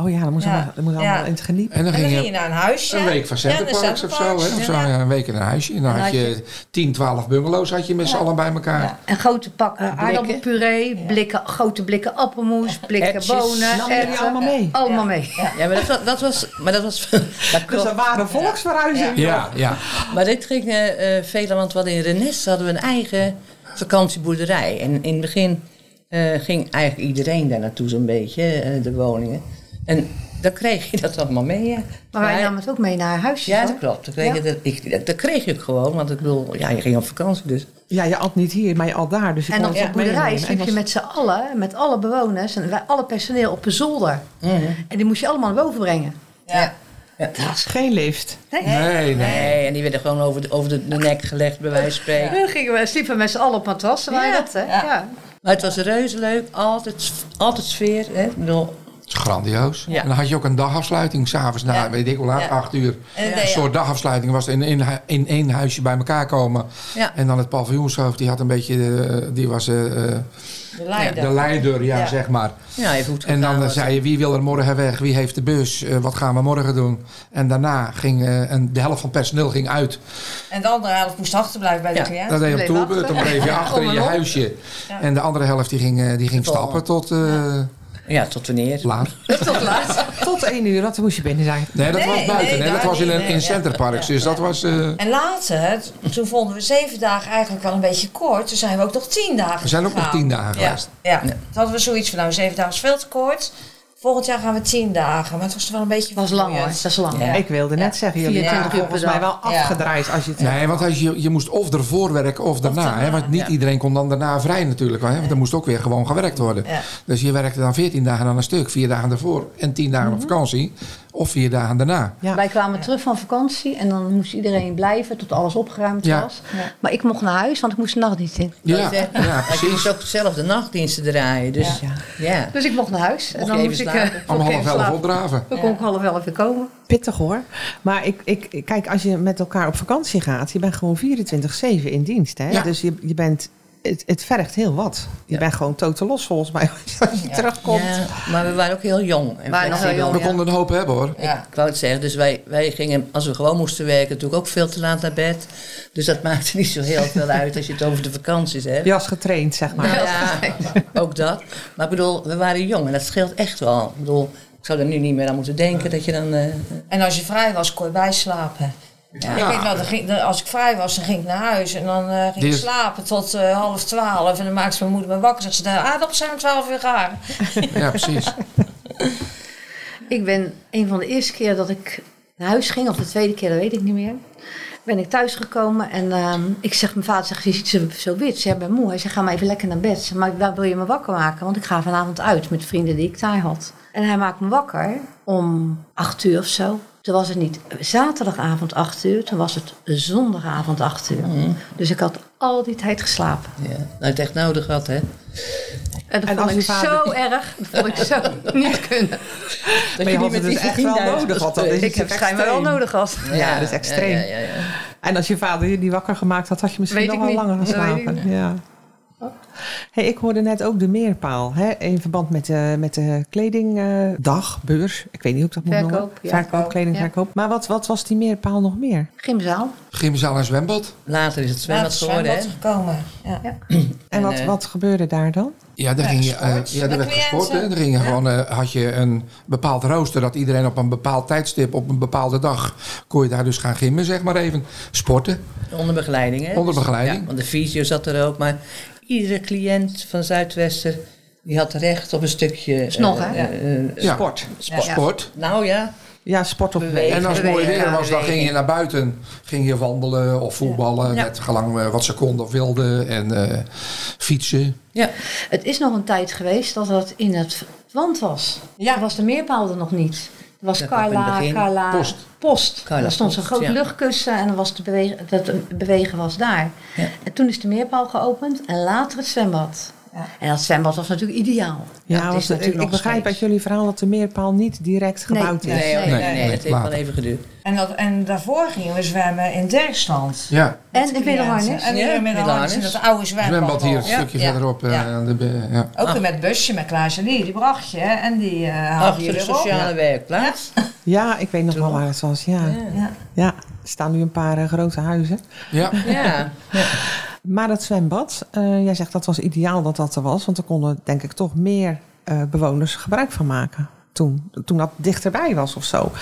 Speaker 2: Oh ja, dat moest
Speaker 1: Ja.
Speaker 2: allemaal, dat moest
Speaker 1: Ja.
Speaker 2: allemaal in het geniep.
Speaker 4: En dan
Speaker 1: en dan
Speaker 4: ging
Speaker 1: ging je
Speaker 4: je
Speaker 1: naar een huisje.
Speaker 4: een week van Centerparks of zo, hè? Of zo ja, een week in een huisje. En dan had je 10, 12 bungalows had je met z'n allen bij elkaar.
Speaker 1: Ja.
Speaker 5: En grote pakken aardappelpuree, blikken, grote blikken appelmoes, blikken
Speaker 6: Erwtjes.
Speaker 5: bonen.
Speaker 2: Nam jullie
Speaker 5: erwten.
Speaker 2: allemaal mee?
Speaker 5: Allemaal mee.
Speaker 6: Ja, maar dat, wa- dat was. Maar dat was. dat
Speaker 2: Dus
Speaker 6: klopt.
Speaker 2: er waren volksverhuizingen.
Speaker 4: Ja, ja.
Speaker 6: Maar dit ging eh eh, velen, want we hadden in Renesse hadden we een eigen vakantieboerderij. En in het begin eh, ging eigenlijk iedereen daar naartoe, zo'n beetje, eh, de woningen. En dan kreeg je dat allemaal mee. Ja.
Speaker 5: Maar wij namen het ook mee naar huis.
Speaker 6: Ja,
Speaker 5: hoor.
Speaker 6: dat klopt. Dat kreeg, je, dat, ik, dat- dat kreeg je ook gewoon, want ik bedoel, ja, je ging op vakantie dus.
Speaker 2: Ja, je at niet hier, maar je at daar. Dus je
Speaker 5: En
Speaker 2: kon
Speaker 5: op
Speaker 2: het
Speaker 5: de
Speaker 2: ook
Speaker 5: boerderij
Speaker 2: meenemen. En
Speaker 5: sliep je
Speaker 2: was-
Speaker 5: met z'n allen, met alle bewoners en wij- alle personeel op de zolder. En die moest je allemaal naar boven brengen.
Speaker 1: Ja.
Speaker 2: Geen lift.
Speaker 4: Nee, nee.
Speaker 6: Nee, en die werden gewoon over de, over de, de nek gelegd, bij wijze van spreken.
Speaker 5: Dan gingen we, sliepen we met z'n allen op matrassen, waren
Speaker 6: Ja.
Speaker 5: dat, hè?
Speaker 1: Ja.
Speaker 5: Ja.
Speaker 6: Maar het was reuze leuk, altijd, altijd sfeer. Hè? Ik bedoel,
Speaker 4: Het is grandioos.
Speaker 6: Ja.
Speaker 4: En dan had je ook een dagafsluiting s'avonds na,
Speaker 1: Ja.
Speaker 4: weet ik wel, laat
Speaker 1: Ja.
Speaker 4: acht uur.
Speaker 1: En
Speaker 4: Een
Speaker 1: nee,
Speaker 4: soort dagafsluiting was in één, hu- in één huisje bij elkaar komen.
Speaker 6: Ja.
Speaker 4: En dan het paviljoenshoofd, die had een beetje, eh, die was eh, eh,
Speaker 1: de leider.
Speaker 4: de leider, ja,
Speaker 1: Ja.
Speaker 4: zeg maar.
Speaker 6: ja, even hoe het
Speaker 4: En dan
Speaker 6: gegaan
Speaker 4: eh,
Speaker 6: was.
Speaker 4: zei je, wie wil er morgen weg? Wie heeft de bus? Eh, wat gaan we morgen doen? En daarna ging eh, en de helft van het personeel ging uit.
Speaker 1: En de andere helft moest achterblijven bij de
Speaker 6: Ja.
Speaker 1: cliënt.
Speaker 4: dat deed je op
Speaker 5: bleef
Speaker 4: toerbeurt. Dan
Speaker 5: achter.
Speaker 4: bleef je achter in je
Speaker 5: Om en om.
Speaker 4: huisje.
Speaker 1: Ja.
Speaker 4: En de andere helft die ging, eh, die ging
Speaker 6: Tot-
Speaker 4: stappen tot eh
Speaker 6: Ja, tot wanneer?
Speaker 4: laat.
Speaker 5: Tot laat.
Speaker 2: Tot één uur, dat moest je binnen zijn.
Speaker 4: Nee, dat
Speaker 1: Nee,
Speaker 4: was buiten.
Speaker 1: nee,
Speaker 4: hè? dat
Speaker 1: daar
Speaker 4: was in
Speaker 1: niet,
Speaker 4: een
Speaker 1: nee,
Speaker 4: in
Speaker 1: ja.
Speaker 4: Centerparks.
Speaker 1: Ja.
Speaker 4: Dus dat was... eh,
Speaker 1: En later, t- toen vonden we zeven dagen eigenlijk wel een beetje kort. Toen zijn we ook nog tien dagen
Speaker 4: We zijn ook nog
Speaker 1: gegaan.
Speaker 4: tien dagen
Speaker 1: Nou, ja.
Speaker 4: geweest.
Speaker 1: Ja. toen hadden we zoiets van, nou, zeven dagen is veel te kort. Volgend jaar gaan we tien dagen. Maar het was wel een beetje
Speaker 5: Dat was lang hoor,
Speaker 1: vermoeiend.
Speaker 5: dat is lang.
Speaker 6: Ja.
Speaker 2: Ik wilde net zeggen, jullie
Speaker 1: Vier
Speaker 2: zijn
Speaker 1: uur per
Speaker 2: volgens mij wel
Speaker 1: Ja.
Speaker 2: afgedraaid als je het
Speaker 4: Nee, want als je, je moest of ervoor werken of daarna. hè? Want niet
Speaker 6: ja.
Speaker 4: iedereen kon dan daarna vrij natuurlijk. Hè? Want er moest ook weer gewoon gewerkt worden.
Speaker 1: Ja.
Speaker 4: Dus je werkte dan 14 dagen aan een stuk. Vier dagen ervoor en tien dagen op vakantie. Of vier dagen daarna.
Speaker 2: Ja.
Speaker 5: Wij kwamen terug van vakantie en dan moest iedereen blijven tot alles opgeruimd
Speaker 4: Ja.
Speaker 5: was. Maar ik mocht naar huis, want ik moest de nacht niet in.
Speaker 6: Dat
Speaker 4: Ja,
Speaker 6: is echt-
Speaker 4: ja,
Speaker 6: Maar je moest
Speaker 4: precies.
Speaker 6: ook zelf de nachtdiensten draaien. Dus ja. ja.
Speaker 5: Dus ik mocht naar huis.
Speaker 6: Mocht je even slapen?
Speaker 5: eh,
Speaker 4: Om half
Speaker 5: mocht even
Speaker 4: elf
Speaker 5: slapen.
Speaker 4: opdraven.
Speaker 5: Dan kon ik half elf weer komen.
Speaker 2: pittig hoor. Maar ik, ik, kijk, als je met elkaar op vakantie gaat, je bent gewoon 24-7 in dienst. Hè?
Speaker 4: Ja.
Speaker 2: Dus je, je bent, het, het vergt heel wat. Je bent gewoon totaal los volgens mij als je terugkomt.
Speaker 6: Ja, maar we waren ook heel jong. En
Speaker 5: waren nog heel
Speaker 6: flexibel.
Speaker 5: jong.
Speaker 4: We
Speaker 5: Ja.
Speaker 4: konden een hoop hebben hoor.
Speaker 1: Ja.
Speaker 6: Ik wou het zeggen, dus wij, wij gingen, als we gewoon moesten werken, natuurlijk ook veel te laat naar bed. Dus dat maakte niet zo heel veel uit als je het over de vakanties hebt.
Speaker 2: Je was getraind, zeg maar.
Speaker 6: Nou ja, ook dat. Maar ik bedoel, we waren jong en dat scheelt echt wel. Ik bedoel, ik zou er nu niet meer aan moeten denken dat je dan... eh,
Speaker 1: En als je vrij was, kon je bijslapen. Ja. Ik weet wel, dan ging- dan- als ik vrij was, dan ging ik naar huis. En dan eh, ging
Speaker 4: Die
Speaker 1: ik
Speaker 4: is-
Speaker 1: slapen tot eh, half twaalf. En dan maakte mijn moeder me wakker. Zegt ze, de aardappels zijn om twaalf uur Nou, gaar.
Speaker 4: Ja, precies.
Speaker 5: Ik ben een van de eerste keer dat ik naar huis ging, of de tweede keer, dat weet ik niet meer. Ben ik thuisgekomen en ehm, ik zeg, mijn vader zegt, je ziet er zo wit. Ze hebben moe. Hij zegt, ga maar even lekker naar bed. Ik zeg, Maar daar wil je me wakker maken, want ik ga vanavond uit met vrienden die ik daar had. En hij maakt me wakker om acht uur of zo. Toen was het niet zaterdagavond acht uur, toen was het zondagavond acht uur. Dus ik had al die tijd geslapen.
Speaker 6: ja, nou, het echt nodig had, hè.
Speaker 5: En dat
Speaker 2: En
Speaker 5: vond
Speaker 2: als
Speaker 5: ik
Speaker 2: uw vader-
Speaker 5: zo erg, dat vond ik zo niet kunnen.
Speaker 6: Dat
Speaker 2: Maar je had het dus echt wel nodig. Want dat is
Speaker 5: Ik heb
Speaker 2: natuurlijk
Speaker 5: schijnbaar wel
Speaker 2: extreem.
Speaker 5: nodig gehad.
Speaker 2: Ja, dat is extreem.
Speaker 6: Ja, ja, ja, ja.
Speaker 2: En als je vader je niet wakker gemaakt had, had je misschien
Speaker 5: Weet
Speaker 2: nog
Speaker 5: ik
Speaker 2: wel
Speaker 5: niet.
Speaker 2: langer
Speaker 5: Dat
Speaker 2: geslapen.
Speaker 5: weet
Speaker 2: ja. Hey, ik hoorde net ook de meerpaal. Hè, in verband met de, met de kledingdag, eh, beurs. Ik weet niet hoe ik dat moet noemen.
Speaker 5: Verkoop, ja.
Speaker 2: Verkoop, kledingverkoop. Maar wat, wat was die meerpaal nog meer?
Speaker 5: Gymzaal.
Speaker 4: Gymzaal en zwembad.
Speaker 6: Later is het
Speaker 1: Later
Speaker 6: zwembad
Speaker 1: is
Speaker 6: geworden, hè.
Speaker 1: zwembad gekomen. Ja.
Speaker 2: En,
Speaker 6: En,
Speaker 2: wat,
Speaker 6: eh,
Speaker 2: wat gebeurde daar dan?
Speaker 4: Ja, daar ging je, eh,
Speaker 1: gesport.
Speaker 4: ja, daar
Speaker 1: Met
Speaker 4: werd gesport. Hè.
Speaker 1: cliënten.
Speaker 4: Daar ging je gewoon, eh, had je een bepaald rooster dat iedereen op een bepaald tijdstip, op een bepaalde dag, kon je daar dus gaan gimmen, zeg maar even. Sporten.
Speaker 6: Onder begeleiding, hè? Dus,
Speaker 4: Onder begeleiding.
Speaker 6: Ja, want de fysio zat er ook. Maar iedere cliënt van Zuidwester die had recht op een stukje...
Speaker 5: Snor,
Speaker 6: eh,
Speaker 5: hè?
Speaker 6: eh, eh,
Speaker 4: Ja.
Speaker 2: Sport.
Speaker 6: sport.
Speaker 5: Ja.
Speaker 4: Sport.
Speaker 6: Nou ja,
Speaker 2: Ja, sport op
Speaker 6: Bewegen.
Speaker 4: En als het mooi
Speaker 6: Bewegen,
Speaker 4: weer was, dan
Speaker 6: bewegen.
Speaker 4: ging je naar buiten. Ging je wandelen of voetballen.
Speaker 6: Ja.
Speaker 4: Met gelang eh, wat ze konden of wilden. En eh, fietsen.
Speaker 6: ja.
Speaker 5: Het is nog een tijd geweest dat dat in het land was.
Speaker 1: Ja.
Speaker 5: Er was de meerpaal er nog niet. Er was
Speaker 6: Dat
Speaker 5: Carla,
Speaker 6: kwam in het begin.
Speaker 5: Carla...
Speaker 4: Post.
Speaker 5: Post.
Speaker 6: Carla
Speaker 5: daar stond
Speaker 6: Post,
Speaker 5: zo'n groot
Speaker 6: ja.
Speaker 5: luchtkussen en er was de bewegen, dat bewegen was daar.
Speaker 6: Ja.
Speaker 5: En toen is de meerpaal geopend en later het zwembad.
Speaker 1: Ja.
Speaker 5: En dat zwembad was natuurlijk ideaal.
Speaker 2: Ja,
Speaker 6: Dat is
Speaker 2: want ik-
Speaker 6: natuurlijk
Speaker 2: ik,
Speaker 6: nog
Speaker 2: begrijp
Speaker 6: steeds.
Speaker 2: uit jullie verhaal dat de meerpaal niet direct
Speaker 5: Nee,
Speaker 2: gebouwd is.
Speaker 6: Nee, nee, nee,
Speaker 4: nee,
Speaker 6: het heeft
Speaker 4: later.
Speaker 6: wel even geduurd.
Speaker 1: En, dat, en daarvoor gingen we zwemmen in Derkstand.
Speaker 4: Ja,
Speaker 5: En in Middelharnis.
Speaker 1: En
Speaker 6: Ja,
Speaker 1: in Middelharnis. in
Speaker 6: Middelharnis.
Speaker 1: dat oude zwembad.
Speaker 4: zwembad hier een
Speaker 1: nog.
Speaker 4: stukje
Speaker 1: Ja.
Speaker 4: verderop. eh,
Speaker 1: Ja.
Speaker 4: aan de, be- ja.
Speaker 1: Ook weer met busje, met Klaas en Lee. Die bracht je en die eh haalde je
Speaker 6: Achter de
Speaker 1: weer op.
Speaker 6: sociale werkplaats.
Speaker 2: Ja, ik weet nog wel waar het was. Ja. ja.
Speaker 1: Ja.
Speaker 2: er staan nu een paar eh, grote huizen.
Speaker 4: ja.
Speaker 6: Ja.
Speaker 2: Maar dat zwembad, eh, jij zegt dat was ideaal dat dat er was. Want er konden denk ik toch meer eh, bewoners gebruik van maken. toen, toen dat dichterbij was of zo.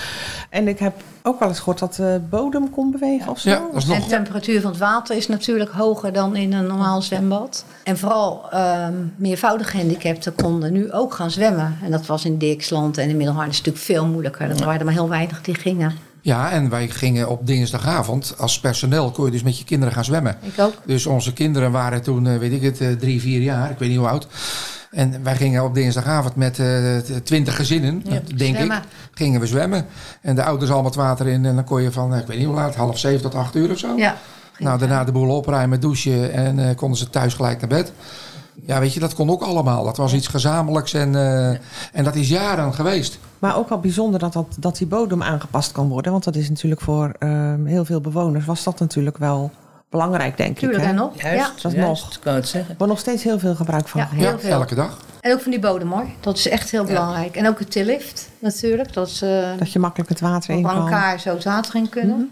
Speaker 2: En ik heb ook wel eens gehoord dat de bodem kon bewegen of zo.
Speaker 4: Ja, dat is
Speaker 5: En de
Speaker 4: nog.
Speaker 5: temperatuur van het water is natuurlijk hoger dan in een normaal zwembad. En vooral ehm meervoudig gehandicapten konden nu ook gaan zwemmen. En dat was in Dirksland en in Middelharnis natuurlijk veel moeilijker. Er waren er maar heel weinig die gingen.
Speaker 4: Ja, en wij gingen op dinsdagavond als personeel kon je dus met je kinderen gaan zwemmen.
Speaker 5: Ik ook.
Speaker 4: Dus onze kinderen waren toen, eh, weet ik het, eh, drie, vier jaar, ik weet niet hoe oud. En wij gingen op dinsdagavond met eh, twintig gezinnen, denk
Speaker 5: zwemmen.
Speaker 4: ik, gingen we zwemmen. En de ouders allemaal het water in en dan kon je van, eh, ik weet niet hoe laat, half zeven tot acht uur of zo.
Speaker 5: Ja.
Speaker 4: Nou, daarna de boel opruimen, douchen en eh, konden ze thuis gelijk naar bed. Ja, weet je, dat kon ook allemaal. Dat was iets gezamenlijks en, eh, en dat is jaren geweest.
Speaker 2: Maar ook wel bijzonder dat, dat, dat die bodem aangepast kan worden. Want dat is natuurlijk voor ehm, heel veel bewoners was dat natuurlijk wel belangrijk, denk
Speaker 5: Tuurlijk
Speaker 2: ik. hè?
Speaker 5: en nog. Ja.
Speaker 6: Juist,
Speaker 2: dat is
Speaker 6: juist,
Speaker 2: nog.
Speaker 6: kan het zeggen.
Speaker 2: Er wordt nog steeds heel veel gebruik van
Speaker 5: Ja.
Speaker 2: gemaakt.
Speaker 4: Ja,
Speaker 5: Heel veel.
Speaker 4: elke dag.
Speaker 5: En ook van die bodem hoor. Dat is echt heel belangrijk. En ook het tillift natuurlijk. Dat ze
Speaker 2: Dat je makkelijk het water in
Speaker 5: op
Speaker 2: kan.
Speaker 5: elkaar zo het water in kunnen.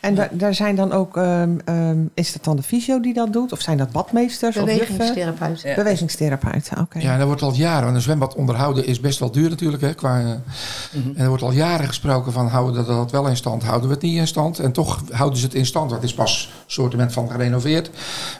Speaker 2: En da- daar zijn dan ook, ehm, ehm, is dat dan de fysio die dat doet? Of zijn dat badmeesters of juffen?
Speaker 5: Bewegingstherapeut.
Speaker 6: Ja.
Speaker 2: Bewegingstherapeuten, oké.
Speaker 4: Ja, en dat wordt al jaren. Want een zwembad onderhouden is best wel duur natuurlijk. Hè, qua, eh, En er wordt al jaren gesproken van houden we dat, dat wel in stand, houden we het niet in stand. En toch houden ze het in stand. Dat is pas een soortement van gerenoveerd.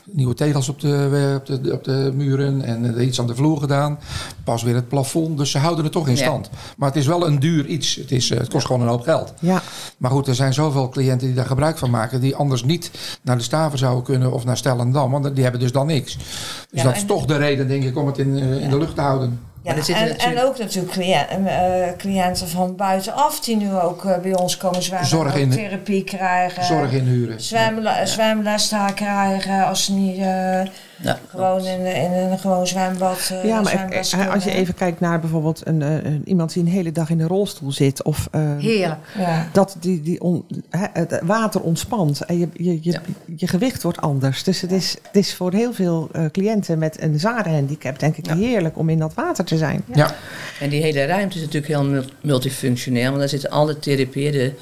Speaker 4: Nieuwe tegels op de, op de, op de muren en eh, iets aan de vloer gedaan. Pas weer het plafond. Dus ze houden het toch in
Speaker 6: Ja.
Speaker 4: stand. Maar het is wel een duur iets. Het, is, eh, het kost gewoon een hoop geld.
Speaker 2: Ja.
Speaker 4: Maar goed, er zijn zoveel cliënten die daar gebruik van maken. die anders niet naar de Staven zouden kunnen of naar Stellendam. Want die hebben dus dan niks. Dus
Speaker 1: Ja,
Speaker 4: dat is
Speaker 1: en-
Speaker 4: toch de reden, denk ik, om het in, eh, in de lucht te houden.
Speaker 1: Ja,
Speaker 6: Maar er zitten
Speaker 1: en,
Speaker 6: natuurlijk-
Speaker 1: en ook natuurlijk cliënt- eh, cliënten van buitenaf die nu ook eh, bij ons komen zwemmen.
Speaker 4: Zorg
Speaker 1: ook
Speaker 4: in-
Speaker 1: therapie
Speaker 5: Eh,
Speaker 1: krijgen.
Speaker 4: Zorg inhuren.
Speaker 1: Zwemla zwemles daar krijgen als ze niet eh,
Speaker 6: Ja,
Speaker 1: gewoon in, in een gewoon zwembad. eh,
Speaker 2: Ja, maar
Speaker 1: zwemles
Speaker 2: ik- als je
Speaker 1: kunnen.
Speaker 2: even kijkt naar bijvoorbeeld een, eh, een- iemand die een hele dag in een rolstoel zit. Of eh,
Speaker 5: Heerlijk.
Speaker 1: Ja.
Speaker 2: dat die, die on- hè, het water ontspant en je, je, je,
Speaker 6: Ja.
Speaker 2: je gewicht wordt anders. Dus het is, het is voor heel veel eh, cliënten met een zware handicap denk ik heerlijk om in dat water te zijn.
Speaker 4: Ja.
Speaker 6: En die hele ruimte is natuurlijk heel mul- multifunctioneel, want daar zitten alle therapieën, de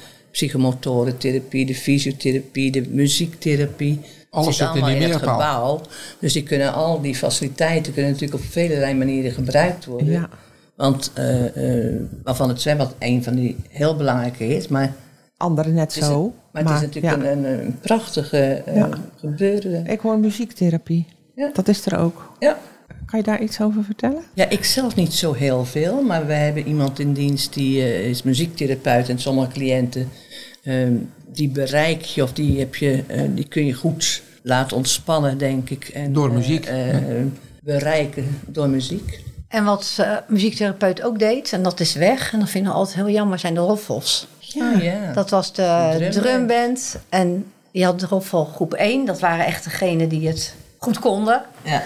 Speaker 6: psychomotorentherapie, de fysiotherapie, de muziektherapie.
Speaker 4: Alles
Speaker 6: Het
Speaker 4: zit in die
Speaker 6: allemaal het
Speaker 4: meerpaal.
Speaker 6: gebouw. Dus die kunnen al die faciliteiten kunnen natuurlijk op vele manieren gebruikt worden.
Speaker 2: Ja.
Speaker 6: Want eh, eh, waarvan het zwembad een van die heel belangrijke is, maar
Speaker 2: Anderen net
Speaker 6: het is,
Speaker 2: zo.
Speaker 6: maar het is natuurlijk
Speaker 2: ja.
Speaker 6: een, een, een prachtige eh
Speaker 2: Ja.
Speaker 6: gebeuren.
Speaker 2: Ik hoor muziektherapie.
Speaker 6: Ja.
Speaker 2: Dat is er ook.
Speaker 6: Ja.
Speaker 2: Kan je daar iets over vertellen?
Speaker 6: Ja, ik zelf niet zo heel veel, maar we hebben iemand in dienst die eh, is muziektherapeut en sommige cliënten ehm, die bereik je of die, heb je, eh, die kun je goed laten ontspannen, denk ik. En,
Speaker 4: Door
Speaker 6: eh,
Speaker 4: muziek,
Speaker 6: eh, bereiken door muziek.
Speaker 5: En wat eh, muziektherapeut ook deed, en dat is weg, en dat vinden we altijd heel jammer, zijn de roffels.
Speaker 6: Ja, Ah, ja.
Speaker 5: Dat was de
Speaker 6: Drumband.
Speaker 5: drumband. En je had de roffel groep 1, dat waren echt degenen die het goed konden.
Speaker 6: ja.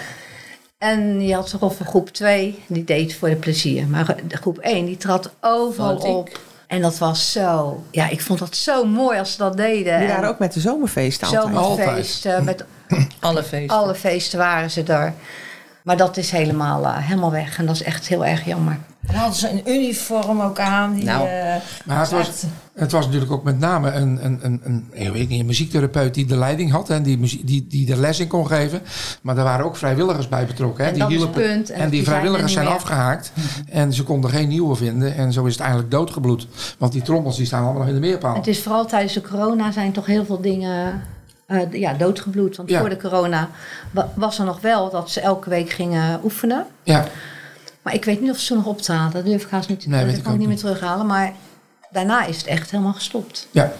Speaker 5: En je had de roffel groep 2, die deed voor de plezier. Maar de groep 1, die trad overal
Speaker 6: Vond ik.
Speaker 5: op. En dat was zo, ja, ik vond dat zo mooi als ze dat
Speaker 6: Eh,
Speaker 5: deden.
Speaker 2: Die
Speaker 5: En
Speaker 2: waren ook met de zomerfeesten altijd.
Speaker 5: zomerfeesten, met
Speaker 6: alle feesten.
Speaker 5: alle feesten waren ze daar. Maar dat is helemaal, eh, helemaal weg. En dat is echt heel erg jammer.
Speaker 1: Dan hadden ze een uniform ook aan. Die,
Speaker 6: Nou.
Speaker 1: eh,
Speaker 4: Maar het was,
Speaker 1: echt-
Speaker 4: het was natuurlijk ook met name een, een, een, een, ik weet niet, een muziektherapeut die de leiding had en die, muzie- die, die de les in kon geven. Maar er waren ook vrijwilligers bij betrokken. Hè,
Speaker 5: En
Speaker 4: die
Speaker 5: dat is het
Speaker 4: hielpen.
Speaker 5: punt.
Speaker 4: en die
Speaker 5: zijn er
Speaker 4: vrijwilligers
Speaker 5: niet
Speaker 4: zijn
Speaker 5: meer. Mhm.
Speaker 4: afgehaakt en ze konden geen nieuwe vinden. En zo is het eigenlijk doodgebloed. Want die trommels die staan allemaal nog in de meerpaal.
Speaker 5: Het is vooral tijdens de corona zijn toch heel veel dingen eh, ja, doodgebloed. Want
Speaker 4: Ja.
Speaker 5: voor de corona wa- was er nog wel dat ze elke week gingen oefenen.
Speaker 4: Ja,
Speaker 5: Maar ik weet niet of ze toen nog optraden. Dat durf ik haast niet te
Speaker 4: Nee,
Speaker 5: dat
Speaker 4: weet
Speaker 5: kan
Speaker 4: ik
Speaker 5: ik
Speaker 4: ook
Speaker 5: niet meer terughalen. Maar daarna is het echt helemaal gestopt.
Speaker 4: ja.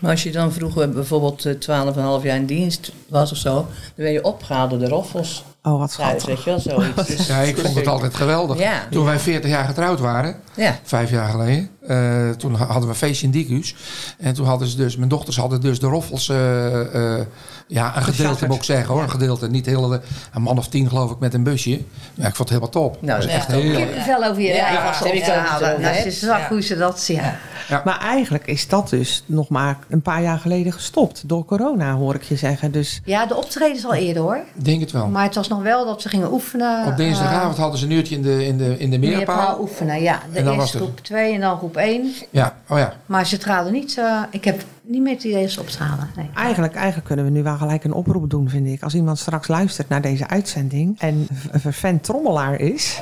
Speaker 6: Maar als je dan vroeger bijvoorbeeld eh, 12,5 jaar in dienst was of zo, dan werd je opgehaald door de roffels
Speaker 2: Oh, wat
Speaker 6: thuis,
Speaker 2: schattig.
Speaker 6: weet je wel, zoiets. Dus-
Speaker 4: ja, ik vond het altijd geweldig.
Speaker 6: Ja.
Speaker 4: Toen wij 40 jaar getrouwd waren,
Speaker 6: Ja,
Speaker 4: vijf jaar geleden. Eh, toen ha- hadden we een feestje in Dicus. En toen hadden ze dus, mijn dochters hadden dus de roffels, eh, eh, ja, een gedeelte moet ik zeggen hoor, een gedeelte. Niet heel, eh, een man of tien geloof ik met een busje. Ja, ik vond het helemaal top.
Speaker 6: Nou,
Speaker 4: Dat is
Speaker 6: ja.
Speaker 4: echt heel...
Speaker 5: Kippenvel over je
Speaker 6: Ja,
Speaker 5: lijf
Speaker 6: ja,
Speaker 5: was
Speaker 6: heb ik
Speaker 5: op
Speaker 6: ook
Speaker 5: te halen.
Speaker 6: erover,
Speaker 5: Nou,
Speaker 6: hè?
Speaker 5: ze zag
Speaker 1: Ja.
Speaker 5: hoe ze dat... Ja.
Speaker 2: Maar eigenlijk is dat dus nog maar een paar jaar geleden gestopt. Door corona hoor ik je zeggen. Dus
Speaker 5: ja, de optreden is al eerder hoor.
Speaker 4: Ik denk het wel.
Speaker 5: Maar het was nog wel dat ze gingen oefenen.
Speaker 4: Oh. Op dinsdagavond hadden ze een uurtje in de, in de, in de
Speaker 5: eh, meerpaal
Speaker 4: meerpaal.
Speaker 5: oefenen, ja. De
Speaker 4: En dan was
Speaker 5: eerste
Speaker 4: er-
Speaker 5: groep 2 en dan groep 1.
Speaker 4: Ja, oh ja.
Speaker 5: Maar ze traden niet. eh, ik heb niet meer het idee dat ze optraden. Nee.
Speaker 2: Eigenlijk, eigenlijk kunnen we nu wel gelijk een oproep doen, vind ik. Als iemand straks luistert naar deze uitzending en een vervent trommelaar is.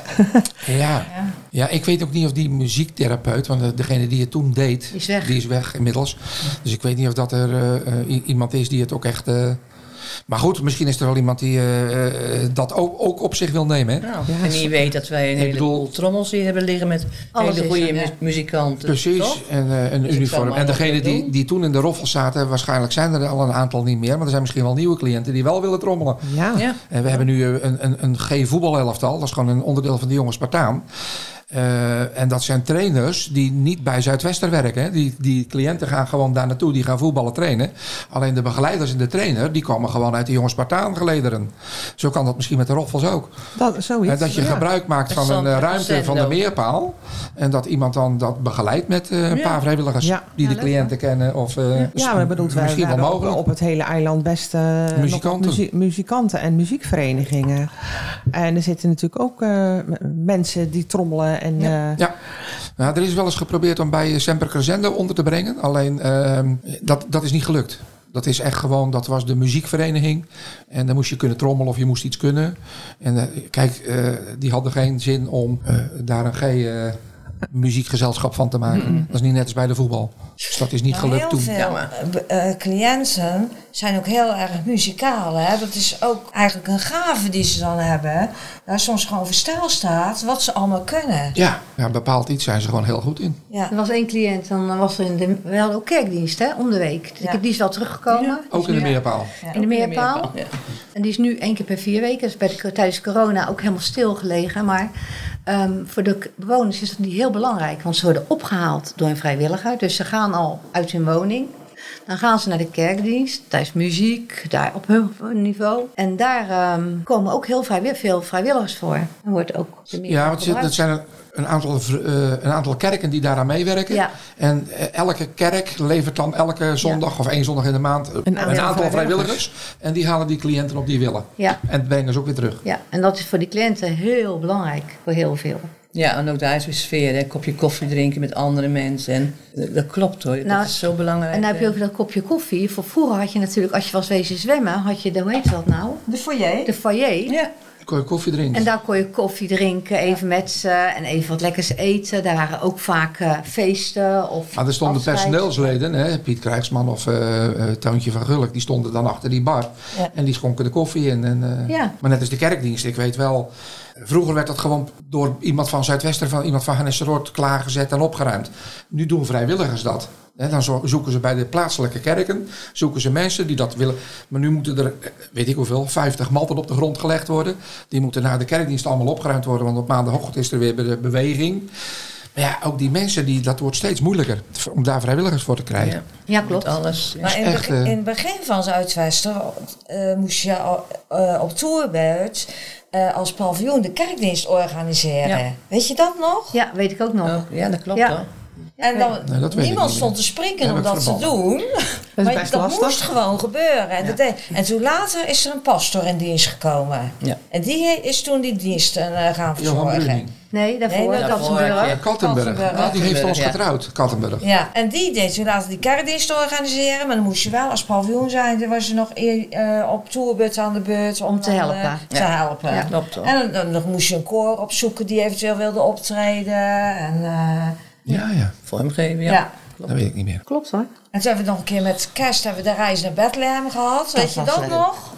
Speaker 4: Ja. ja, ik weet ook niet of die muziektherapeut, want eh, degene die het toen deed,
Speaker 5: Die is weg.
Speaker 4: die is weg inmiddels. Dus ik weet niet of dat er eh, eh, i- iemand is die het ook echt. eh, maar goed, misschien is er wel iemand die eh, eh, dat ook, ook op zich wil nemen. Hè?
Speaker 6: Nou,
Speaker 2: Ja,
Speaker 6: en
Speaker 2: zo-
Speaker 6: wie weet dat wij een
Speaker 4: Ik
Speaker 6: heleboel
Speaker 4: bedoel-
Speaker 6: trommels hier hebben liggen met
Speaker 5: Alles
Speaker 6: hele
Speaker 5: is
Speaker 6: goede
Speaker 5: er,
Speaker 6: mu-
Speaker 5: ja.
Speaker 6: muzikanten.
Speaker 4: Precies,
Speaker 6: toch?
Speaker 4: en eh, een
Speaker 6: Dus ik kan
Speaker 4: uniform.
Speaker 6: maar
Speaker 4: En
Speaker 6: wat
Speaker 4: degene die,
Speaker 6: doen.
Speaker 4: die toen in de roffel zaten, waarschijnlijk zijn er al een aantal niet meer. Maar er zijn misschien wel nieuwe cliënten die wel willen trommelen.
Speaker 2: Ja.
Speaker 6: Ja.
Speaker 4: En we hebben nu eh, een, een, een G-voetbalelftal. Dat is gewoon een onderdeel van de jonge Spartaan. Eh, en dat zijn trainers die niet bij Zuidwester werken. hè. Die, die cliënten gaan gewoon daar naartoe. Die gaan voetballen trainen. Alleen de begeleiders en de trainer... die komen gewoon uit de jonge Spartaan gelederen. Zo kan dat misschien met de Roffels ook.
Speaker 2: Dat, zoiets.
Speaker 4: Hè, dat je
Speaker 2: Ja.
Speaker 4: gebruik maakt van een eh, ruimte van de meerpaal. En dat iemand dan dat begeleidt met eh, een
Speaker 6: Ja.
Speaker 4: paar vrijwilligers...
Speaker 2: Ja.
Speaker 4: die
Speaker 5: Ja,
Speaker 4: de
Speaker 5: leuk,
Speaker 4: cliënten kennen. Of, eh, s-
Speaker 2: Ja, maar bedoeld, wij
Speaker 4: misschien wel
Speaker 2: waren op-
Speaker 4: mogelijk.
Speaker 2: op het hele eiland best eh, nog wat
Speaker 4: Muzikanten.
Speaker 2: muzie- muzikanten en muziekverenigingen. En er zitten natuurlijk ook eh, m- mensen die trommelen. En, eh,
Speaker 4: Ja, nou, er is wel eens geprobeerd om bij eh, Semper Crescendo onder te brengen. Alleen ehm, dat, dat is niet gelukt. Dat is echt gewoon, dat was de muziekvereniging. En dan moest je kunnen trommelen of je moest iets kunnen. En eh, kijk, eh, die hadden geen zin om eh, daar een G eh, muziekgezelschap van te maken. Dat is niet net als bij de voetbal. Dus dat is niet
Speaker 1: Maar
Speaker 4: gelukt
Speaker 1: Nou, heel
Speaker 4: toen.
Speaker 1: veel
Speaker 6: Jammer.
Speaker 1: eh, eh, cliënten zijn ook heel erg muzikaal. Hè? Dat is ook eigenlijk een gave die ze dan hebben. Daar soms gewoon voor stijl staat wat ze allemaal kunnen.
Speaker 4: Ja, ja, bepaald iets zijn ze gewoon heel goed in.
Speaker 1: Ja.
Speaker 5: Er was één cliënt, dan was er in de, we hadden ook kerkdienst hè, om de week. Dus
Speaker 1: Ja.
Speaker 5: ik heb- Die is wel teruggekomen. Die
Speaker 4: Ook
Speaker 5: is
Speaker 4: in de
Speaker 5: nu-
Speaker 4: meerpaal.
Speaker 1: Ja,
Speaker 5: In de meerpaal.
Speaker 6: Ja.
Speaker 5: En die is nu één keer per vier weken. Dus bij de, tijdens corona ook helemaal stilgelegen. Maar ehm, voor de k- bewoners is dat niet heel belangrijk. Want ze worden opgehaald door een vrijwilliger. Dus ze gaan al uit hun woning. Dan gaan ze naar de kerkdienst. Daar is muziek, daar op hun niveau. En daar ehm, komen ook heel vrijwi- veel vrijwilligers voor. En wordt ook de meerpaal
Speaker 4: Ja, want ze- dat
Speaker 5: gebruikt.
Speaker 4: zijn een- een aantal, ver- eh, een aantal kerken die daaraan meewerken.
Speaker 5: Ja.
Speaker 4: En eh, elke kerk levert dan elke zondag of één zondag in de maand eh, een,
Speaker 2: aantal
Speaker 4: aantal
Speaker 2: vrijwilligers.
Speaker 4: vrijwilligers. En die halen die cliënten op die willen.
Speaker 5: Ja.
Speaker 4: En brengen ze ook weer terug.
Speaker 5: ja, en dat is voor die cliënten heel belangrijk. Voor heel veel.
Speaker 6: ja, en ook daar is weer sfeer. Hè. Een kopje koffie drinken met andere mensen. En, dat- dat klopt hoor.
Speaker 5: Nou,
Speaker 6: dat is zo belangrijk.
Speaker 5: En dan heb je
Speaker 6: hè.
Speaker 5: ook dat kopje koffie. Voor vroeger had je natuurlijk, als je was wezen zwemmen, had je, de- hoe heet dat nou?
Speaker 1: De foyer.
Speaker 5: De foyer.
Speaker 6: Ja,
Speaker 4: Kon je koffie drinken.
Speaker 5: En daar kon je koffie drinken, even met ze en even wat lekkers eten. Daar waren ook vaak eh, feesten of
Speaker 4: Maar Ah, er stonden
Speaker 5: afscheid.
Speaker 4: personeelsleden, hè, Piet Krijgsman of eh eh, Toontje van Gulik, die stonden dan achter die bar.
Speaker 1: Ja.
Speaker 4: En die schonken de koffie in. En, eh,
Speaker 5: Ja.
Speaker 4: Maar net als de kerkdienst, ik weet wel. Vroeger werd dat gewoon door iemand van Zuidwester, van iemand van Hannes Roord klaargezet en opgeruimd. Nu doen vrijwilligers dat. Hè, dan zo- zoeken ze bij de plaatselijke kerken, zoeken ze mensen die dat willen. Maar nu moeten er, eh, weet ik hoeveel, 50 matten op de grond gelegd worden. Die moeten naar de kerkdienst allemaal opgeruimd worden, want op maandagochtend is er weer be- beweging. Maar ja, ook die mensen, die, dat wordt steeds moeilijker om daar vrijwilligers voor te krijgen.
Speaker 6: ja.
Speaker 5: Ja,
Speaker 6: Met
Speaker 5: klopt.
Speaker 6: alles. Ja.
Speaker 1: Maar in, het
Speaker 4: echt,
Speaker 1: beg-
Speaker 4: eh,
Speaker 1: in het begin van Zuidwester eh, moest je al, eh, op tourbeurt eh, als paviljoen de kerkdienst organiseren.
Speaker 6: Ja.
Speaker 1: Weet je dat nog?
Speaker 5: Ja, weet ik ook nog.
Speaker 6: Oh, ja, dat klopt
Speaker 5: Ja.
Speaker 6: hoor.
Speaker 1: En dan,
Speaker 4: Nee, dat weet ik niet
Speaker 1: niemand
Speaker 4: meer.
Speaker 1: stond te springen
Speaker 4: Heb
Speaker 1: om
Speaker 4: ik
Speaker 1: dat te
Speaker 4: verbannen.
Speaker 1: doen.
Speaker 2: Dat
Speaker 1: maar
Speaker 2: is best
Speaker 1: dat
Speaker 2: lastig.
Speaker 1: moest gewoon gebeuren. En, dat deed- en toen later is er een pastoor in dienst gekomen.
Speaker 6: Ja.
Speaker 1: En die he- is toen die diensten eh, gaan
Speaker 4: Johan
Speaker 1: verzorgen.
Speaker 4: Bruning.
Speaker 5: Nee, daarvoor
Speaker 1: Nee,
Speaker 5: nee,
Speaker 6: daarvoor, ja.
Speaker 4: Kattenburg.
Speaker 1: Kattenburg.
Speaker 4: Ah, die heeft
Speaker 6: Kattenburg,
Speaker 4: ons
Speaker 6: ja.
Speaker 4: getrouwd, Kattenburg.
Speaker 1: Ja, en die deed toen later die kerkdienst organiseren. Maar dan moest je wel als paviljoen zijn. Dan was je nog eer- eh, op tourbeurt aan de beurt. Om,
Speaker 5: te
Speaker 1: dan, eh,
Speaker 5: helpen.
Speaker 1: Te
Speaker 6: Ja.
Speaker 1: helpen.
Speaker 6: Ja, klopt hoor.
Speaker 1: En dan, dan nog moest je een koor opzoeken die eventueel wilde optreden. En, eh,
Speaker 4: Ja, ja.
Speaker 6: Vorm geven,
Speaker 1: ja.
Speaker 6: ja.
Speaker 4: Dat weet ik niet meer.
Speaker 5: Klopt hoor.
Speaker 1: En toen hebben we nog een keer met kerst hebben we de reis naar Bethlehem gehad. Weet je
Speaker 5: was
Speaker 1: dat
Speaker 5: leuk.
Speaker 1: nog?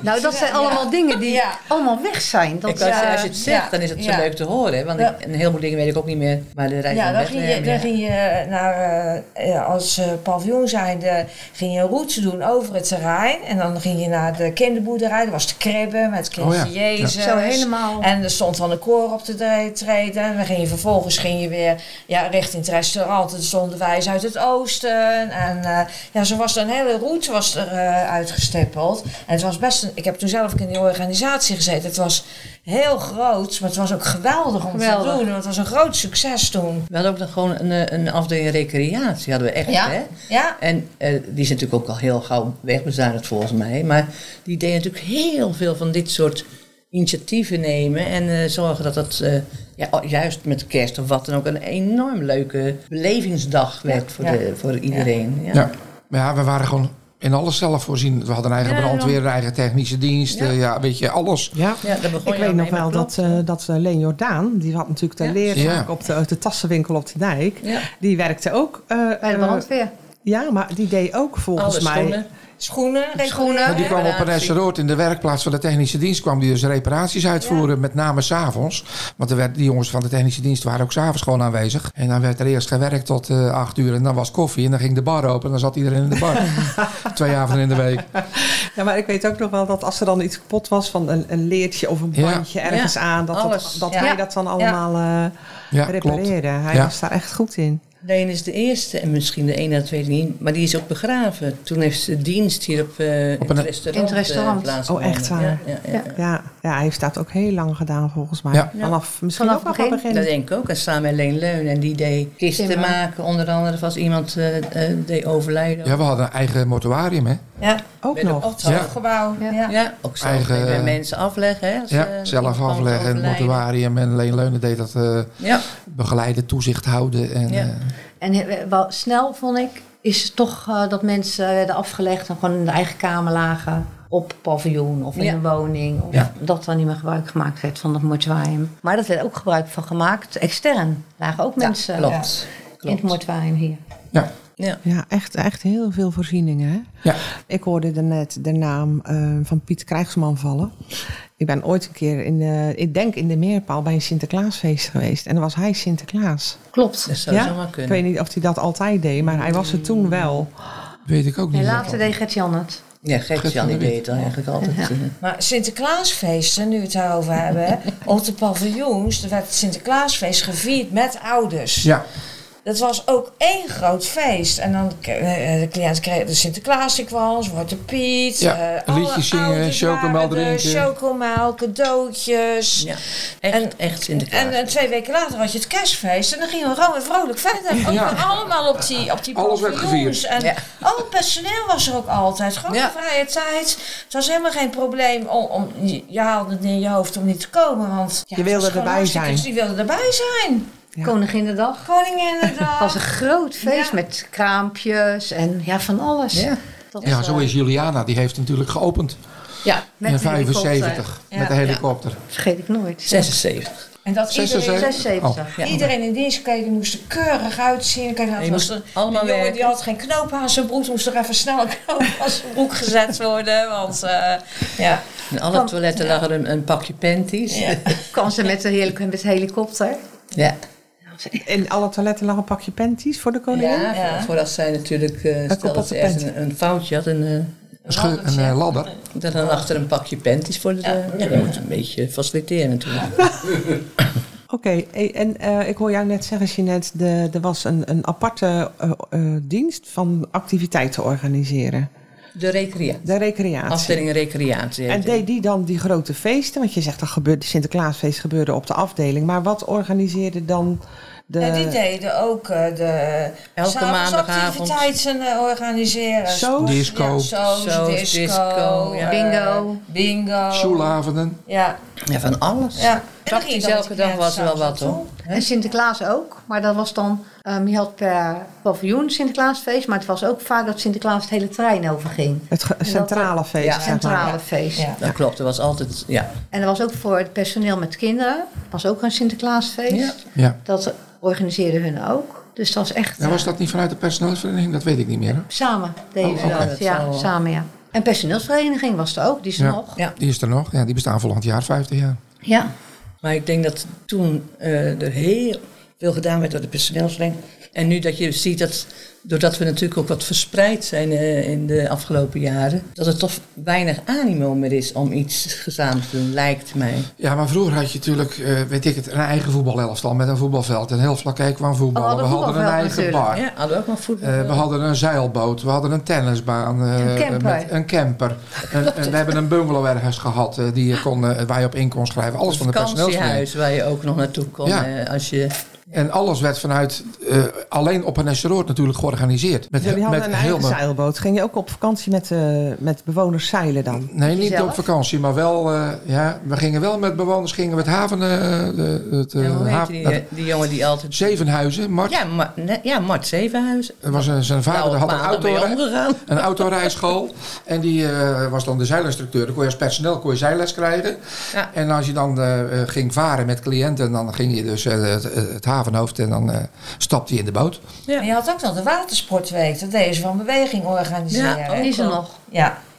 Speaker 5: Nou, dat zijn
Speaker 1: Ja.
Speaker 5: allemaal dingen die
Speaker 1: Ja.
Speaker 5: allemaal weg zijn. Dat,
Speaker 6: Ik wou
Speaker 5: eh,
Speaker 6: zeggen, als je het zegt,
Speaker 1: ja,
Speaker 6: dan is het zo
Speaker 1: ja.
Speaker 6: leuk te horen. hè, Want
Speaker 1: Ja.
Speaker 6: ik, een heleboel dingen weet ik ook niet meer. Maar de reis
Speaker 1: Ja,
Speaker 6: van
Speaker 1: dan ging je,
Speaker 6: Bethlehem,
Speaker 1: dan
Speaker 6: ja.
Speaker 1: ging je naar, eh, eh, als eh, paviljoen zijnde ging je een route doen over het terrein. En dan ging je naar de kinderboerderij. Er was de kribbe met kindje
Speaker 4: Oh ja, ja.
Speaker 1: Jezus.
Speaker 5: Zo helemaal.
Speaker 1: Oh. En er stond dan een koor op te dre- treden. En dan ging je, vervolgens ging je weer ja, richting het restaurant. En er stonden wijzen uit het oosten. En eh, ja, zo was er een hele route was er, eh, uitgestippeld. En het was best een ik heb toen zelf ook in die organisatie gezeten. Het was heel groot, maar het was ook geweldig om te
Speaker 5: Geweldig.
Speaker 1: doen. Want het was een groot succes toen.
Speaker 6: We hadden ook nog gewoon een, eh, een afdeling recreatie, hadden we echt,
Speaker 1: Ja,
Speaker 6: hè?
Speaker 1: ja.
Speaker 6: En eh, die is natuurlijk ook al heel gauw wegbezuinigd volgens mij. Maar die deed natuurlijk heel veel van dit soort initiatieven nemen. En eh, zorgen dat dat eh, ja, al- juist met kerst of wat dan ook een enorm leuke belevingsdag werd voor,
Speaker 1: ja.
Speaker 6: de, voor iedereen. Ja.
Speaker 4: Ja. Maar ja, we waren gewoon in alles zelf voorzien. We hadden een eigen
Speaker 6: Ja,
Speaker 4: brandweer, een eigen technische dienst. eh, Ja, weet je, alles.
Speaker 2: Ja.
Speaker 6: Ja, daar begon
Speaker 2: Ik
Speaker 6: je
Speaker 2: weet
Speaker 6: al
Speaker 2: nog
Speaker 6: mee
Speaker 2: wel
Speaker 6: met
Speaker 2: dat, eh dat eh, Leen Jordaan, die had natuurlijk de
Speaker 6: Ja.
Speaker 2: leerzaak
Speaker 4: Ja.
Speaker 2: op de, de tassenwinkel op de dijk.
Speaker 6: Ja.
Speaker 2: Die werkte ook. eh,
Speaker 5: Bij de
Speaker 2: eh,
Speaker 5: brandweer.
Speaker 2: ja, maar die deed ook volgens
Speaker 6: Alle
Speaker 2: mij.
Speaker 6: schoenen.
Speaker 1: Schoenen,
Speaker 4: Maar
Speaker 1: schoenen.
Speaker 4: die kwam op een
Speaker 6: reparatie.
Speaker 4: restaurant in de werkplaats van de technische dienst. kwam die dus reparaties uitvoeren, met name s'avonds. Want er werd, die jongens van de technische dienst waren ook s'avonds gewoon aanwezig. En dan werd er eerst gewerkt tot eh, acht uur. En dan was koffie en dan ging de bar open en dan zat iedereen in de bar. Twee avonden in de week.
Speaker 2: Ja, maar ik weet ook nog wel dat als er dan iets kapot was van een, een leertje of een
Speaker 4: Ja.
Speaker 2: bandje ergens
Speaker 6: Ja,
Speaker 2: aan, dat, dat,
Speaker 6: alles.
Speaker 2: dat
Speaker 1: Ja.
Speaker 2: hij dat dan allemaal eh
Speaker 4: Ja, klopt.
Speaker 2: repareerde. Hij
Speaker 4: Ja.
Speaker 2: was daar echt goed in.
Speaker 6: Leen is de eerste en misschien de ene of tweede niet, maar die is ook begraven. Toen heeft de dienst hier op, eh,
Speaker 4: Op
Speaker 6: in
Speaker 4: een-
Speaker 6: het restaurant,
Speaker 5: In het restaurant.
Speaker 6: eh, plaatsgevonden.
Speaker 2: Oh, echt waar?
Speaker 6: Ja, ja, ja.
Speaker 2: Ja, ja, hij heeft dat ook heel lang gedaan volgens mij.
Speaker 4: Ja.
Speaker 2: Vanaf misschien
Speaker 5: Vanaf
Speaker 2: ook al
Speaker 5: het
Speaker 2: begin.
Speaker 6: Dat denk ik ook. En samen met Leen Leun. En die deed kisten
Speaker 5: Timmer.
Speaker 6: maken, onder andere. Of als iemand eh, eh, deed overlijden.
Speaker 4: Ja, we hadden een eigen mortuarium, hè?
Speaker 1: Ja,
Speaker 2: Ook
Speaker 6: Met een
Speaker 2: nog.
Speaker 1: op het
Speaker 4: Ja.
Speaker 1: hoofdgebouw.
Speaker 5: Ja.
Speaker 1: Ja.
Speaker 6: Ja, ook zelf
Speaker 4: Eigen,
Speaker 6: deed bij
Speaker 4: eh,
Speaker 6: mensen afleggen. Hè, als,
Speaker 4: Ja,
Speaker 6: eh,
Speaker 4: zelf
Speaker 6: iemand
Speaker 4: afleggen en
Speaker 6: overlijden.
Speaker 4: mortuarium. En Leen Leunen deed dat eh,
Speaker 6: Ja,
Speaker 4: begeleiden, toezicht houden. En,
Speaker 6: Ja.
Speaker 4: eh,
Speaker 5: En eh, wel snel vond ik, is het toch eh, dat mensen werden afgelegd en gewoon in de eigen kamer lagen. Op paviljoen of in
Speaker 6: Ja.
Speaker 5: een woning. Of
Speaker 4: Ja.
Speaker 5: Dat dan niet meer gebruik gemaakt werd van het mortuarium. Maar dat werd ook gebruik van gemaakt extern. Lagen ook mensen
Speaker 6: klopt.
Speaker 5: eh, in het mortuarium hier.
Speaker 4: ja.
Speaker 6: Ja.
Speaker 2: Ja, echt, echt heel veel voorzieningen. Hè?
Speaker 4: Ja.
Speaker 2: Ik hoorde daarnet de naam eh, van Piet Krijgsman vallen. Ik ben ooit een keer, in de, ik denk in de Meerpaal, bij een Sinterklaasfeest geweest. En dan was hij Sinterklaas.
Speaker 5: Klopt.
Speaker 6: dat zou
Speaker 2: Ja?
Speaker 6: zomaar
Speaker 2: Ik
Speaker 6: kunnen.
Speaker 2: weet niet of hij dat altijd deed, maar hij was er toen wel.
Speaker 4: Weet ik ook niet.
Speaker 5: En
Speaker 4: of
Speaker 5: later
Speaker 4: dat-
Speaker 5: deed Gert-Jan het.
Speaker 6: Ja, Gert-Jan die deed het dan eigenlijk altijd. eh.
Speaker 1: Maar Sinterklaasfeesten, nu we het daarover hebben. op de paviljoens er werd het Sinterklaasfeest gevierd met ouders.
Speaker 4: Ja,
Speaker 1: Dat was ook één groot feest. En dan eh, de cliënt kreeg de Sinterklaas die kwam, Zwarte Piet.
Speaker 4: Ja,
Speaker 1: eh,
Speaker 4: liedjes
Speaker 1: alle
Speaker 4: zingen,
Speaker 1: ouders
Speaker 4: chocomel
Speaker 1: waren er,
Speaker 4: drinken.
Speaker 1: Chocomel, cadeautjes.
Speaker 6: Ja, echt,
Speaker 1: En-
Speaker 6: echt Sinterklaas.
Speaker 1: En eh, twee weken later had je het kerstfeest en dan gingen we gewoon weer vrolijk verder. Ook
Speaker 4: Ja.
Speaker 1: weer allemaal op die, op die
Speaker 4: Alles werd
Speaker 1: paviljoens.
Speaker 4: gevierd.
Speaker 1: En
Speaker 6: Ja.
Speaker 1: al het personeel was er ook altijd. Gewoon
Speaker 6: Ja.
Speaker 1: de vrije tijd. Het was helemaal geen probleem om, om je- je haalde het in je hoofd om niet te komen. Want ja,
Speaker 2: Je
Speaker 1: het
Speaker 2: wilde
Speaker 1: was gewoon
Speaker 2: erbij
Speaker 1: hartstikke-
Speaker 2: zijn.
Speaker 1: Je wilde erbij zijn.
Speaker 2: Ja.
Speaker 5: Koninginnedag. Het was
Speaker 1: Koninginnedag.
Speaker 5: een groot
Speaker 1: Ja.
Speaker 5: feest met kraampjes en ja, van alles.
Speaker 6: Ja.
Speaker 5: Dat
Speaker 4: ja
Speaker 5: was,
Speaker 4: zo
Speaker 5: eh,
Speaker 4: is Juliana. Die heeft natuurlijk geopend
Speaker 5: Ja,
Speaker 4: in
Speaker 5: de helikopter.
Speaker 4: 75
Speaker 1: Ja.
Speaker 4: met de helikopter.
Speaker 5: Vergeet ik nooit.
Speaker 6: 76.
Speaker 1: En dat iedereen,
Speaker 4: 76.
Speaker 5: 76.
Speaker 4: Oh.
Speaker 6: Ja.
Speaker 1: iedereen in dienst keek, die moest er keurig uitzien. Kijk,
Speaker 6: Je
Speaker 1: nou,
Speaker 6: moest
Speaker 1: was er,
Speaker 6: allemaal
Speaker 1: een jongen
Speaker 6: werken.
Speaker 1: die had geen knoop aan zijn broek, moest er even snel een knoop aan zijn broek gezet worden. Want eh, ja.
Speaker 6: In alle
Speaker 5: Van-
Speaker 6: toiletten lag er een, een pakje panties. Ja.
Speaker 1: ja.
Speaker 5: Kwam ze met de, helik met de helikopter.
Speaker 2: In alle toiletten lag een pakje panties voor de koningin.
Speaker 6: Ja,
Speaker 1: Ja.
Speaker 6: voor- voor als zij natuurlijk, eh, stel dat
Speaker 2: kapotte
Speaker 6: ze ergens
Speaker 2: panty.
Speaker 6: een, een foutje had, een, eh,
Speaker 4: Een schu- een eh, ladder.
Speaker 6: Dan, dan achter een pakje panties voor de. Ja. Dat moet een beetje faciliteren natuurlijk.
Speaker 2: Oké, eh, en eh, ik hoor jou net zeggen, Jeanette, de, er was een, een aparte eh, eh, dienst van activiteiten organiseren.
Speaker 6: De recreatie.
Speaker 2: De recreatie.
Speaker 6: Afdeling recreatie.
Speaker 2: En
Speaker 6: heet het.
Speaker 2: deed die dan die grote feesten? Want je zegt dat gebeurde, de Sinterklaasfeest gebeurde op de afdeling. Maar wat organiseerde dan de...
Speaker 1: Ja, die deden ook eh, de
Speaker 6: Elke
Speaker 1: s'avonds
Speaker 6: maandagavond.
Speaker 1: activiteiten eh, organiseren.
Speaker 2: Soos?
Speaker 4: Disco.
Speaker 1: Ja, soos,
Speaker 6: Soos,
Speaker 1: disco,
Speaker 6: disco,
Speaker 1: eh,
Speaker 6: ja.
Speaker 5: Bingo.
Speaker 1: bingo.
Speaker 4: Sjoelavonden.
Speaker 1: Ja,
Speaker 6: ja, van alles.
Speaker 1: ja. En dan
Speaker 6: Praktisch
Speaker 1: ging je dan
Speaker 6: elke
Speaker 1: met
Speaker 6: dag
Speaker 1: die
Speaker 6: was er wel
Speaker 1: s'avonds
Speaker 6: wat, hoor.
Speaker 1: naartoe.
Speaker 5: En Sinterklaas ook. Maar dat was dan, ehm, je had per paviljoen Sinterklaasfeest. Maar het was ook vaak dat Sinterklaas het hele terrein overging.
Speaker 2: Het ge- centrale feest,
Speaker 6: Ja,
Speaker 2: zeg
Speaker 5: Centrale
Speaker 2: maar.
Speaker 5: feest.
Speaker 1: Ja.
Speaker 6: Dat klopt, er was altijd. Ja.
Speaker 5: En er was ook voor het personeel met kinderen. was ook een Sinterklaasfeest.
Speaker 6: Ja.
Speaker 4: Ja.
Speaker 5: Dat organiseerden hun ook. Dus dat was echt...
Speaker 4: ja. Was
Speaker 5: eh,
Speaker 4: dat niet vanuit de personeelsvereniging? Dat weet ik niet meer. Hè?
Speaker 5: Samen deden
Speaker 6: Oh,
Speaker 5: ze
Speaker 6: oké.
Speaker 5: dat.
Speaker 6: Dat
Speaker 5: Ja,
Speaker 6: zal wel.
Speaker 5: samen ja. En personeelsvereniging was er ook. Die is er
Speaker 4: Ja.
Speaker 5: nog.
Speaker 6: Ja.
Speaker 4: Die is er nog. Ja, die bestaan volgend jaar 50 jaar.
Speaker 5: Ja.
Speaker 6: Maar ik denk dat toen eh, er heel veel gedaan werd door de personeelsvereniging. En nu dat je ziet dat, doordat we natuurlijk ook wat verspreid zijn eh, in de afgelopen jaren, dat er toch weinig animo meer is om iets gezamenlijk te doen, lijkt mij.
Speaker 4: Ja, maar vroeger had je natuurlijk, eh, weet ik het, een eigen voetbalelftal met een voetbalveld. En heel vlak kwam voetballen.
Speaker 5: We
Speaker 4: we hadden
Speaker 5: hadden
Speaker 4: een
Speaker 5: voetbalveld
Speaker 4: eigen
Speaker 5: natuurlijk,
Speaker 4: bar.
Speaker 6: Ja, hadden we ook maar voetbal.
Speaker 4: Eh, we hadden een zeilboot, we hadden een tennisbaan, eh,
Speaker 5: Een camper.
Speaker 4: met een camper. Een- een- we hebben een bungalow ergens gehad eh, die je kon, eh, waar je op in kon schrijven. Alles van de personeelsvereniging.
Speaker 6: vakantiehuis waar je ook nog naartoe kon
Speaker 4: Ja.
Speaker 6: eh, als je
Speaker 4: En alles werd vanuit, eh, alleen op een Nesseroord natuurlijk georganiseerd. Met,
Speaker 2: Dus Jullie hadden
Speaker 4: met
Speaker 2: een eigen
Speaker 4: heel-
Speaker 2: zeilboot. Ging je ook op vakantie met, eh, met bewoners zeilen dan?
Speaker 4: Nee, niet
Speaker 5: Zelf?
Speaker 4: op vakantie, maar wel, eh, ja, we gingen wel met bewoners, gingen we het haven, eh, de- het, eh,
Speaker 6: Ja, hoe heet
Speaker 4: haven-
Speaker 6: die, eh, die jongen die altijd...
Speaker 4: Zevenhuizen, Mart.
Speaker 6: Ja, maar, ne- ja, Mart Zevenhuis.
Speaker 4: Er was een, zijn vader
Speaker 6: Nou,
Speaker 4: had een,
Speaker 6: maar dan ben je
Speaker 4: autorij-
Speaker 6: omgegaan.
Speaker 4: een autorijschool. En die eh, was dan de zeilinstructeur. Dan kon je als personeel kon je zijles krijgen.
Speaker 6: Ja.
Speaker 4: En als je dan eh, eh, ging varen met cliënten, dan ging je dus eh, het, het havenhoofd en dan eh, stapte je in de boot.
Speaker 1: En je had ook nog de watersportweek. Dat deden ze van beweging organiseren.
Speaker 6: Ja, oh,
Speaker 1: Ja,
Speaker 6: ook.
Speaker 5: Die is er
Speaker 6: wel.
Speaker 5: nog.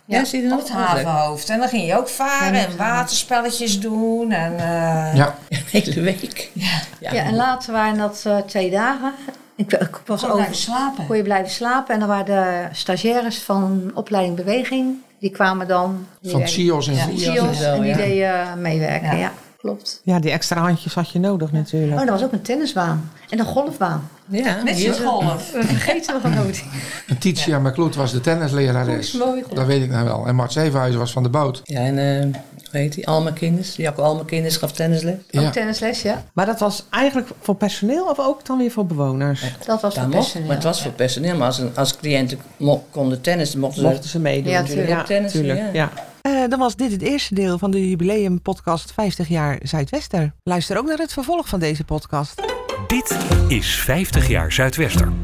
Speaker 6: Ja, zie je
Speaker 1: op
Speaker 6: dat
Speaker 1: het
Speaker 6: ook wel leuk.
Speaker 1: havenhoofd. En dan ging je ook varen en waterspelletjes doen. En, eh,
Speaker 4: Ja,
Speaker 6: Een hele week. Ja,
Speaker 5: Ja, en later waren dat eh, twee dagen. Ik, ik was
Speaker 1: Kon
Speaker 5: over,
Speaker 1: blijven slapen.
Speaker 5: kon je blijven slapen. En dan waren de stagiaires van opleiding beweging. Die kwamen dan.
Speaker 4: van
Speaker 5: meewerken.
Speaker 4: CIO's en
Speaker 5: Van
Speaker 4: VIO's.
Speaker 6: CIO's en
Speaker 5: CIO's.
Speaker 6: zo,
Speaker 5: En die
Speaker 6: ja.
Speaker 5: deden eh, meewerken,
Speaker 1: Ja.
Speaker 5: ja. Klopt.
Speaker 2: Ja, die extra handjes had je nodig natuurlijk.
Speaker 5: Oh, er was ook een tennisbaan. En een golfbaan.
Speaker 6: ja
Speaker 1: Met
Speaker 6: hier-
Speaker 1: z'n golf.
Speaker 5: We vergeten we nooit.
Speaker 4: En Titia McCloot was de tennislerares. Dat weet ik nou wel. En Mart Zevenhuizen was van de boot.
Speaker 6: Ja, en eh, hoe heet die? Alma Kinders. Jacco Alma Kinders gaf tennisles.
Speaker 5: Ook
Speaker 4: Ja.
Speaker 5: tennisles, ja.
Speaker 2: Maar dat was eigenlijk voor personeel of ook dan weer voor bewoners?
Speaker 5: Dat was
Speaker 6: Dat
Speaker 5: voor
Speaker 6: mocht,
Speaker 5: personeel.
Speaker 6: maar het was voor personeel. Maar als, een, als cliënten mo- konden tennissen, mochten ze...
Speaker 2: Mochten ze meedoen.
Speaker 5: Ja, tuurlijk.
Speaker 6: Ook tennissen, ja.
Speaker 2: Eh, dan was dit het eerste deel van de jubileumpodcast 50 jaar Zuidwester. Luister ook naar het vervolg van deze podcast.
Speaker 3: Dit is 50 jaar Zuidwester.